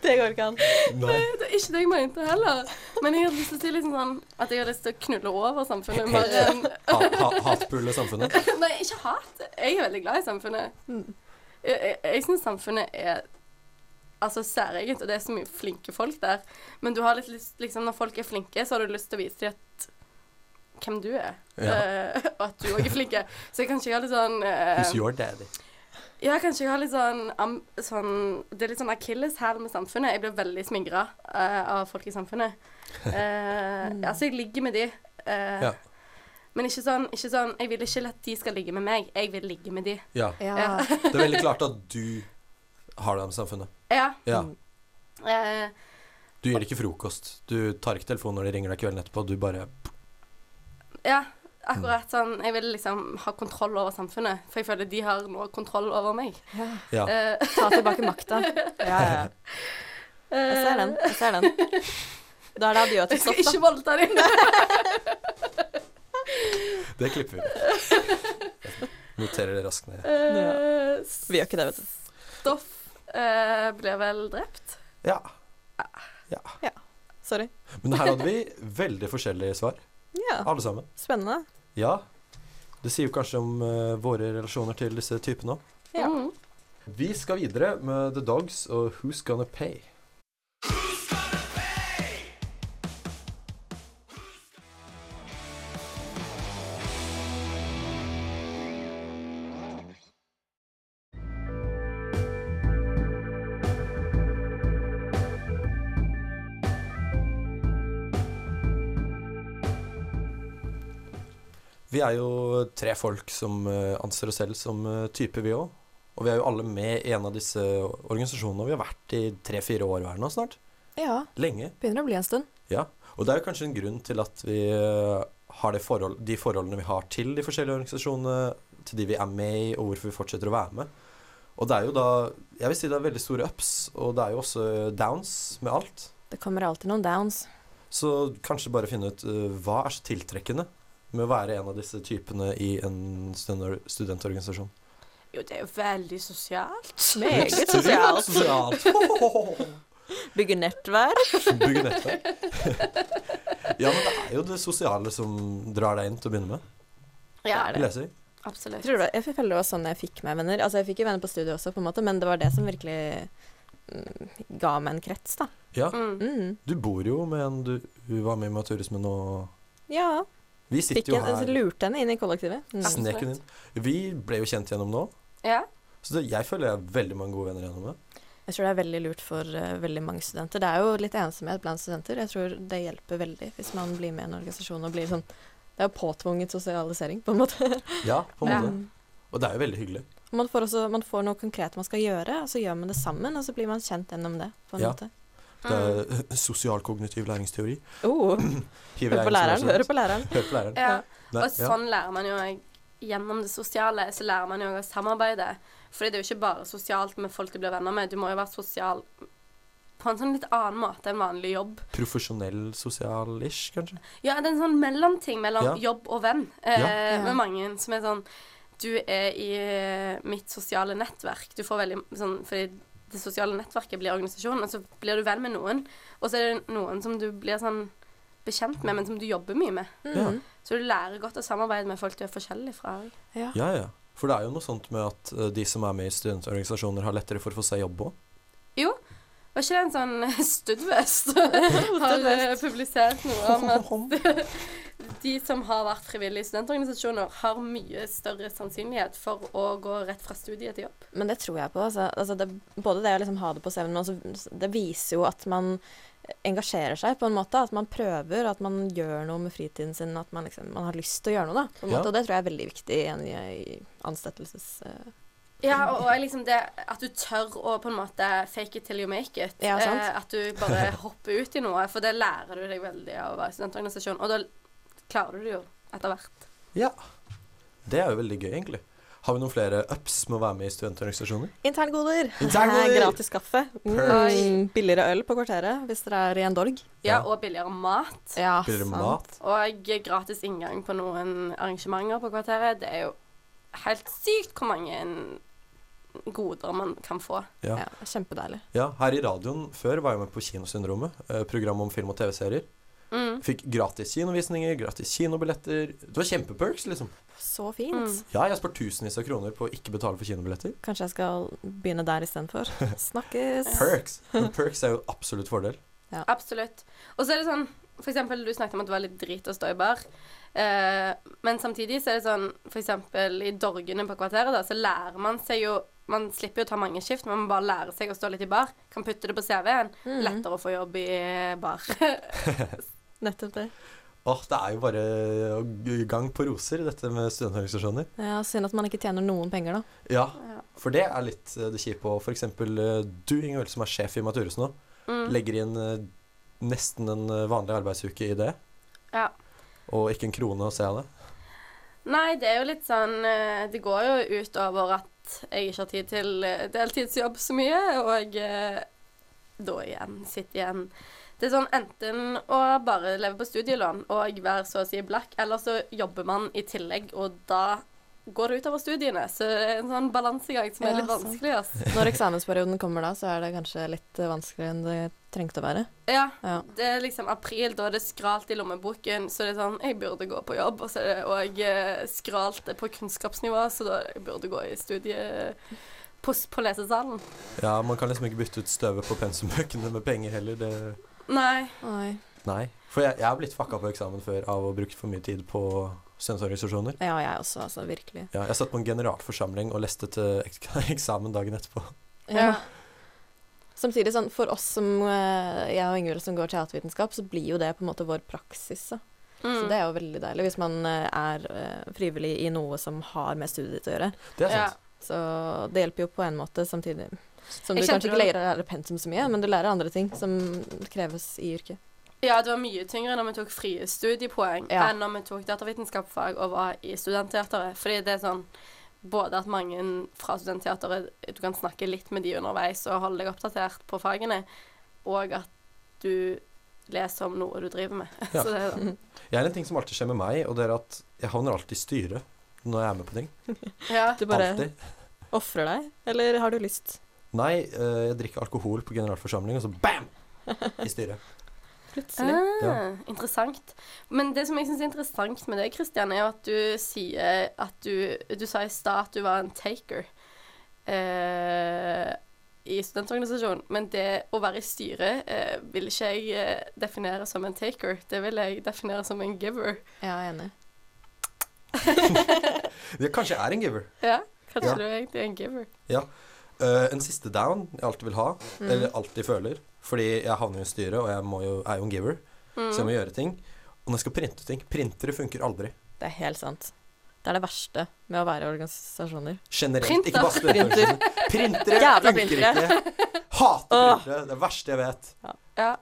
Speaker 2: Det går ikke an.
Speaker 1: Nei.
Speaker 3: Det er ikke det jeg mente heller. Men jeg hadde lyst til å si liksom sånn at jeg hadde lyst til å knulle over samfunnet.
Speaker 1: Helt
Speaker 3: Bare,
Speaker 1: Ha, ha, Hatpule samfunnet.
Speaker 3: nei, ikke hat. Jeg er veldig glad i samfunnet.
Speaker 2: Mm.
Speaker 3: Jeg, jeg, jeg syns samfunnet er altså særegent, og det er så mye flinke folk der. Men du har litt lyst, liksom, når folk er flinke, så har du lyst til å vise dem at hvem du er,
Speaker 1: Ja.
Speaker 3: Eh, og at du òg er flink. Så kanskje jeg har litt sånn eh,
Speaker 1: Who's your daddy?
Speaker 3: Ja, kanskje jeg har litt sånn, am, sånn Det er litt sånn akilleshæl med samfunnet. Jeg blir veldig smingra av folk i samfunnet. Eh,
Speaker 2: Mm.
Speaker 3: altså, jeg ligger med de. eh,
Speaker 1: Ja.
Speaker 3: Men ikke sånn, ikke sånn Jeg vil ikke at de skal ligge med meg. Jeg vil ligge med de.
Speaker 1: Ja.
Speaker 2: Ja.
Speaker 1: Det er veldig klart at du har det med samfunnet.
Speaker 3: Ja.
Speaker 1: Ja.
Speaker 3: eh,
Speaker 1: Du gir det ikke frokost. Du tar ikke telefonen når de ringer deg kvelden etterpå. Du bare
Speaker 3: ja. Akkurat sånn. Jeg vil liksom ha kontroll over samfunnet, for jeg føler de har nå kontroll over meg.
Speaker 2: Ja.
Speaker 1: Ja.
Speaker 3: Eh,
Speaker 2: Ta tilbake makta. Ja, ja. Jeg ser den. Jeg ser den. Da er det adjø til
Speaker 3: eh, Jeg skal
Speaker 2: stopp, da.
Speaker 3: ikke voldta dem.
Speaker 1: Det klipper vi ut. Noterer det raskt ned.
Speaker 3: Eh,
Speaker 2: Vi gjør ikke det, vet du.
Speaker 3: Stoff eh, ble vel drept.
Speaker 1: Ja.
Speaker 2: Sorry.
Speaker 1: Men her hadde vi veldig forskjellige svar,
Speaker 2: Ja,
Speaker 1: alle sammen.
Speaker 2: spennende.
Speaker 1: Ja. Det sier jo kanskje om eh, våre relasjoner til disse typene òg.
Speaker 2: Ja.
Speaker 3: Mm.
Speaker 1: Vi skal videre med The Dogs og Who's Gonna Pay. Vi er jo tre folk som eh, anser oss selv som eh, type, vi òg. Og vi er jo alle med i en av disse organisasjonene, og vi har vært i tre-fire år hver nå snart.
Speaker 2: Ja,
Speaker 1: Lenge.
Speaker 2: begynner å bli en stund.
Speaker 1: Og det er jo kanskje en grunn til at vi eh, har det forhold, de forholdene vi har til de forskjellige organisasjonene, til de vi er med i, og hvorfor vi fortsetter å være med. Og det er jo da Jeg vil si det er veldig store ups, og det er jo også eh, downs med alt.
Speaker 2: Det kommer alltid noen downs.
Speaker 1: Så kanskje bare finne ut eh, hva er så tiltrekkende med å være en av disse typene i en student- studentorganisasjon.
Speaker 3: Jo, det er jo veldig sosialt.
Speaker 2: Meget
Speaker 1: Ekstremt
Speaker 2: sosialt.
Speaker 1: sosialt.
Speaker 2: Bygger nettverk.
Speaker 1: Bygge nettverk. Ja, men det er jo det sosiale som drar deg inn til å begynne med.
Speaker 3: Ja,
Speaker 1: Vi leser.
Speaker 3: absolutt.
Speaker 2: Jeg, tror det, jeg føler det var sånn jeg fikk meg venner. Altså, jeg fikk jo venner på studiet også, på en måte, men det var det som virkelig mm, ga meg en krets, da.
Speaker 3: Mm.
Speaker 2: Mm.
Speaker 1: Du bor jo med en du, du var med i Maturismen og
Speaker 2: Ja.
Speaker 1: Vi
Speaker 2: Fikk
Speaker 1: sitter jo
Speaker 2: en,
Speaker 1: her.
Speaker 2: lurte henne inn i kollektivet. Mm.
Speaker 1: Snek henne inn. Vi ble jo kjent gjennom nå,
Speaker 3: Ja.
Speaker 1: så det, jeg føler jeg har veldig mange gode venner gjennom det.
Speaker 2: Jeg tror det er veldig lurt for eh, veldig mange studenter. Det er jo litt ensomhet blant studenter. Jeg tror det hjelper veldig hvis man blir med i en organisasjon og blir sånn Det er jo påtvunget sosialisering, på en måte.
Speaker 1: Ja, på en
Speaker 3: Ja.
Speaker 1: måte. Og det er jo veldig hyggelig.
Speaker 2: Og Man får, også, man får noe konkret man skal gjøre, og så gjør man det sammen, og så blir man kjent gjennom det, på en
Speaker 1: Ja.
Speaker 2: måte.
Speaker 1: Det
Speaker 3: Mm.
Speaker 1: er
Speaker 2: Mm.
Speaker 1: sosialkognitiv læringsteori.
Speaker 2: Oh,
Speaker 1: Hiver jeg
Speaker 2: hører på
Speaker 1: inn
Speaker 2: læreren,
Speaker 1: som er
Speaker 2: hører
Speaker 1: sånn.
Speaker 2: på læreren.
Speaker 1: Hører på læreren.
Speaker 3: Ja.
Speaker 1: Nei,
Speaker 3: Og
Speaker 1: ja.
Speaker 3: sånn lærer man jo Gjennom det sosiale så lærer man jo å samarbeide. Fordi det er jo ikke bare sosialt med folk du blir venner med. Du må jo være sosial på en sånn litt annen måte enn vanlig jobb.
Speaker 1: Profesjonell sosial-ish, kanskje.
Speaker 3: Ja, det er en sånn mellomting mellom
Speaker 1: Ja.
Speaker 3: jobb og venn eh,
Speaker 2: Ja.
Speaker 3: med mange som er sånn Du er i eh, mitt sosiale nettverk. Du får veldig sånn Fordi det sosiale nettverket blir organisasjonen, og så blir du venn med noen. Og så er det noen som du blir sånn bekjent med, men som du jobber mye med.
Speaker 2: Mm.
Speaker 3: Så du lærer godt å samarbeide med folk du er forskjellig fra. også.
Speaker 2: Ja.
Speaker 1: Ja, ja. For det er jo noe sånt med at eh, de som er med i studentorganisasjoner, har lettere for å få seg jobb òg.
Speaker 3: Var ikke det en sånn Studvest har eh, publisert noe om at de som har vært frivillige i studentorganisasjoner, har mye større sannsynlighet for å gå rett fra studiet til jobb?
Speaker 2: Men det tror jeg på. Altså. Altså det, både det å liksom ha det på CV-en, men også, det viser jo at man engasjerer seg på en måte. At man prøver, at man gjør noe med fritiden sin. At man, liksom, man har lyst til å gjøre noe, da. På en
Speaker 1: Ja.
Speaker 2: måte. Og det tror jeg er veldig viktig i en i ansettelses... eh,
Speaker 3: Ja, og, og liksom det at du tør å på en måte fake it till you make it.
Speaker 2: Ja, sant.
Speaker 3: Eh, at du bare hopper ut i noe, for det lærer du deg veldig av å være i studentorganisasjon. Og da klarer du det jo etter hvert.
Speaker 1: Ja. Det er jo veldig gøy, egentlig. Har vi noen flere ups med å være med i studentorganisasjoner?
Speaker 2: Ah, Interngoder.
Speaker 1: Interngoder!
Speaker 2: Gratis kaffe. Mm,
Speaker 3: Perks.
Speaker 2: billigere øl på kvarteret hvis dere er i en dorg.
Speaker 3: Ja,
Speaker 1: Ja.
Speaker 3: og billigere mat.
Speaker 2: Ja,
Speaker 1: Billigere mat?
Speaker 3: Og gratis inngang på noen arrangementer på kvarteret. Det er jo helt sykt hvor mange goder man kan få.
Speaker 1: Ja.
Speaker 2: Ja, kjempedeilig.
Speaker 1: ja. Her i radioen før var jeg med på Kinosyndromet, eh, program om film og TV-serier.
Speaker 3: Mm.
Speaker 1: Fikk gratis kinovisninger, gratis kinobilletter. Det var kjempeperks, liksom.
Speaker 2: Så fint.
Speaker 3: Mm.
Speaker 1: Ja, jeg har spart tusenvis av kroner på å ikke betale for kinobilletter.
Speaker 2: Kanskje jeg skal begynne der istedenfor. Snakkes.
Speaker 1: Perks! Men perks er jo absolutt fordel.
Speaker 3: Absolutt. Og så er det sånn For eksempel, du snakket om at det var litt drit å stå i bar. Eh, men samtidig så er det sånn For eksempel i dorgene på kvarteret, da, så lærer man seg jo Man slipper jo å ta mange skift, men man bare lærer seg å stå litt i bar. Kan putte det på CV-en.
Speaker 2: Mm.
Speaker 3: Lettere å få jobb i bar.
Speaker 2: Nettopp det.
Speaker 1: Åh, det er jo bare eh, gang på roser, dette med studentorganisasjoner.
Speaker 2: Ja, Synd at man ikke tjener noen penger, da.
Speaker 1: Ja,
Speaker 3: Ja.
Speaker 1: for det er litt eh, det kjipe. Og for eksempel eh, du, Ingvild, som er sjef i Maturus nå,
Speaker 3: Mm.
Speaker 1: legger inn eh, nesten en eh, vanlig arbeidsuke i det.
Speaker 3: Ja.
Speaker 1: Og ikke en krone å se av det.
Speaker 3: Nei, det er jo litt sånn eh, Det går jo utover at jeg ikke har tid til eh, deltidsjobb så mye, og eh, da igjen sitte igjen. Det er sånn enten å bare leve på studielån og være så å si blakk, eller så jobber man i tillegg, og da går det utover studiene. Så det er en sånn balansegang som
Speaker 2: Ja,
Speaker 3: er litt
Speaker 2: sant.
Speaker 3: vanskelig, ass.
Speaker 2: Når eksamensperioden kommer da, så er det kanskje litt eh, vanskeligere enn det trengte å være.
Speaker 3: Ja.
Speaker 2: Ja.
Speaker 3: Det er liksom april, da er det skralt i lommeboken, så det er sånn Jeg burde gå på jobb, og så er det òg skralt på kunnskapsnivå, så da jeg burde gå i studie på, s- på lesesalen.
Speaker 1: Ja, man kan liksom ikke bytte ut støvet på pensumbøkene med penger heller. Det
Speaker 3: Nei.
Speaker 2: Oi.
Speaker 1: Nei. For jeg, jeg har blitt fucka på eksamen før av å bruke for mye tid på studentorganisasjoner.
Speaker 2: Ja, jeg også, altså. Virkelig.
Speaker 1: Ja, jeg satt på en generalforsamling og leste til ek- eksamen dagen etterpå.
Speaker 2: Ja. Samtidig, sånn, for oss som eh, jeg og Ingvild som går teatervitenskap, så blir jo det på en måte vår praksis. Da. Så
Speaker 3: Mm.
Speaker 2: det er jo veldig deilig hvis man eh, er eh, frivillig i noe som har med studiet ditt å gjøre.
Speaker 1: Det er
Speaker 3: Ja.
Speaker 1: sant.
Speaker 2: Så det hjelper jo på en måte samtidig. Som du
Speaker 3: Jeg
Speaker 2: kanskje
Speaker 3: kjente
Speaker 2: ikke lærer
Speaker 3: det-
Speaker 2: å lære pensum så mye, men du lærer andre ting som kreves i yrket.
Speaker 3: ja, det var mye tyngre når vi tok frie studiepoeng
Speaker 2: Ja.
Speaker 3: enn når vi tok datavitenskapsfag og var i studentteateret. Fordi det er sånn både at mange fra studentteateret Du kan snakke litt med de underveis og holde deg oppdatert på fagene, og at du leser om noe du driver med.
Speaker 1: Ja.
Speaker 3: Så det er sånn.
Speaker 1: Jeg er en ting som alltid skjer med meg, og det er at jeg havner alltid i styret når jeg er med på ting.
Speaker 3: Ja.
Speaker 2: Du bare
Speaker 1: Alltid.
Speaker 2: ofrer deg, eller har du lyst?
Speaker 1: Nei, eh, jeg drikker alkohol på generalforsamling, og så bam! I styret.
Speaker 2: Plutselig.
Speaker 3: Ah,
Speaker 1: Ja.
Speaker 3: Interessant. Men det som jeg syns er interessant med deg, Kristian, er jo at du sier at du Du sa i stad at du var en taker eh, i studentorganisasjonen, men det å være i styret eh, vil ikke jeg eh, definere som en taker. Det vil jeg definere som en giver.
Speaker 2: Ja, jeg er enig.
Speaker 1: Jeg kanskje er en giver.
Speaker 3: Ja, kanskje
Speaker 1: Ja.
Speaker 3: du egentlig er en giver.
Speaker 1: Eh, en siste down jeg alltid vil ha,
Speaker 2: Mm.
Speaker 1: eller alltid føler, fordi jeg havner i styret, og jeg må jo, er jo en giver,
Speaker 3: Mm.
Speaker 1: så jeg må gjøre ting. Og når jeg skal printe ting Printere funker aldri.
Speaker 2: Det er helt sant. Det er det verste med å være i organisasjoner.
Speaker 1: Generelt.
Speaker 3: Printer.
Speaker 1: Ikke bare studentorganisasjoner. Printere
Speaker 2: Jævla
Speaker 1: funker
Speaker 2: printere.
Speaker 1: ikke. Hater
Speaker 2: Åh.
Speaker 1: printere. Det er det verste jeg vet.
Speaker 3: Ja,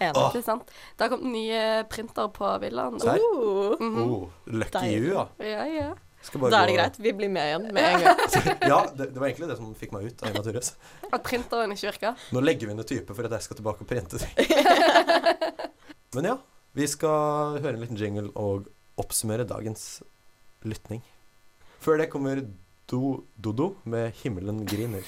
Speaker 2: Enig.
Speaker 1: Åh.
Speaker 3: det er sant. Det har kommet nye printer på villaen.
Speaker 1: Serr?
Speaker 2: Oh.
Speaker 3: Mhm.
Speaker 1: Oh, lucky
Speaker 2: Deilig.
Speaker 1: you, ja.
Speaker 3: Ja, ja.
Speaker 1: Skal
Speaker 2: Da er det
Speaker 1: gå-
Speaker 2: greit. Vi blir med igjen med en gang.
Speaker 1: Ja, det, det var egentlig det som fikk meg ut av Naturus.
Speaker 3: At printeren ikke virker.
Speaker 1: Nå legger vi inn en type for at jeg skal tilbake og printe ting. Men ja, vi skal høre en liten jingle og oppsummere dagens lytning. Før det kommer Do Dodo med 'Himmelen griner'.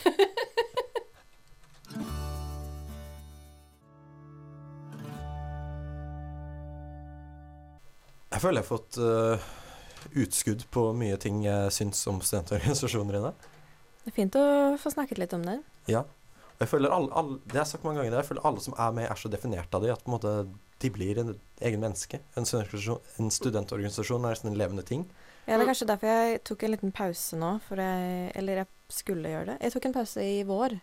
Speaker 1: Jeg føler jeg har fått eh, utskudd på mye ting jeg syns om studentorganisasjoner i dag.
Speaker 2: Det er fint å få snakket litt om det.
Speaker 1: Og Jeg føler alle, alle, det har jeg sagt mange ganger, jeg føler alle som er med, er så definert av det at på en måte de blir en egen menneske. En studentorganisasjon, en studentorganisasjon er nesten en levende ting.
Speaker 2: Ja, Det er kanskje derfor jeg tok en liten pause nå, for jeg, eller jeg skulle gjøre det. Jeg tok en pause i vår.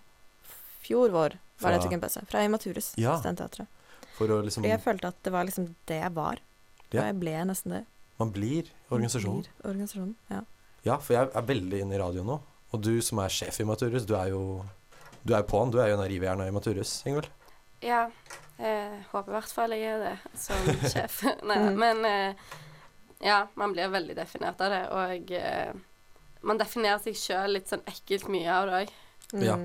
Speaker 2: Fjor vår var det jeg
Speaker 1: Fra-
Speaker 2: tok en pause. Fra Imaturus,
Speaker 1: Ja.
Speaker 2: Studenteatret.
Speaker 1: For å liksom
Speaker 2: Fordi jeg følte at det var liksom det jeg var.
Speaker 1: Ja.
Speaker 2: Og jeg ble nesten det.
Speaker 1: Man blir organisasjon.
Speaker 2: Blir Organisasjonen, ja.
Speaker 1: Ja, for jeg er veldig inne i radio nå. Og du som er sjef i Maturus, du er jo du er jo på'n. Du er jo en av rivjerna i Maturus, Ingvild.
Speaker 3: eh, Ja. Jeg håper i hvert fall jeg er det som sjef. Nei,
Speaker 2: Mm.
Speaker 3: men eh, Ja, man blir veldig definert av det, og eh, man definerer seg sjøl litt sånn ekkelt mye av det òg.
Speaker 2: Mm.
Speaker 1: Ja.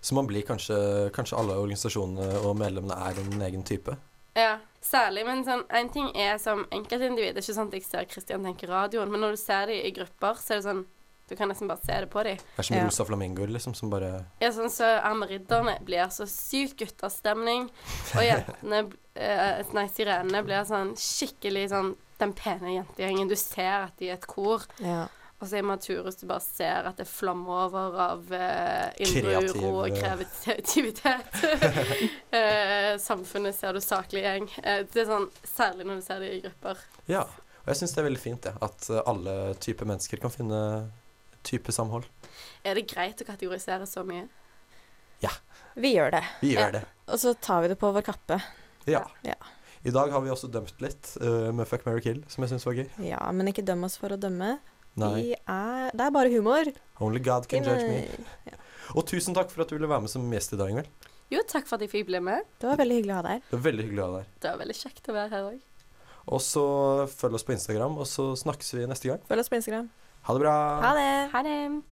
Speaker 1: Så man blir kanskje Kanskje alle organisasjonene og medlemmene er en egen type.
Speaker 3: Ja, særlig, men sånn, en ting er som enkeltindivid, det er ikke sånn at jeg ser Kristian tenker radioen, men når du ser de i grupper, så er det sånn, du kan nesten bare se det på de.
Speaker 1: Det er som
Speaker 2: Ja.
Speaker 1: rosa flamingoer, liksom, som bare
Speaker 3: Ja, sånn så Amridderne blir så sykt guttastemning, og jentene, eh, nei, sirenene blir sånn skikkelig sånn, den pene jentegjengen, du ser at de er et kor,
Speaker 2: Ja.
Speaker 3: Og så i Maturus du bare ser at det flammer over av eh, indre
Speaker 1: Kreativ-
Speaker 3: uro og kreativitet. eh, samfunnet ser du saklig gjeng. Eh, det er sånn, Særlig når du ser det i grupper.
Speaker 1: Ja. Og jeg syns det er veldig fint, det. At eh, alle typer mennesker kan finne type samhold.
Speaker 3: Er det greit å kategorisere så mye?
Speaker 2: Vi gjør det.
Speaker 1: Vi
Speaker 3: Ja.
Speaker 1: gjør det.
Speaker 2: Og så tar vi det på vår kappe.
Speaker 1: Ja.
Speaker 2: Ja.
Speaker 1: I dag har vi også dømt litt eh, med Fuck, marry, kill, som jeg syns var gøy.
Speaker 2: Ja, men ikke døm oss for å dømme.
Speaker 1: Nei.
Speaker 2: Vi er Det er bare humor.
Speaker 1: Only God can judge me.
Speaker 2: Det
Speaker 1: Og tusen takk for at du ville være med som gjest i dag, Ingvild.
Speaker 3: Jo, takk for at jeg fikk bli med.
Speaker 2: var veldig hyggelig å ha deg her.
Speaker 1: Det var veldig hyggelig å ha deg her.
Speaker 3: Det var veldig kjekt å være her òg.
Speaker 1: Og så følg oss på Instagram, og så snakkes vi neste gang.
Speaker 2: Følg oss på Instagram.
Speaker 1: Ha det bra.
Speaker 2: Ha det!
Speaker 3: Ha det.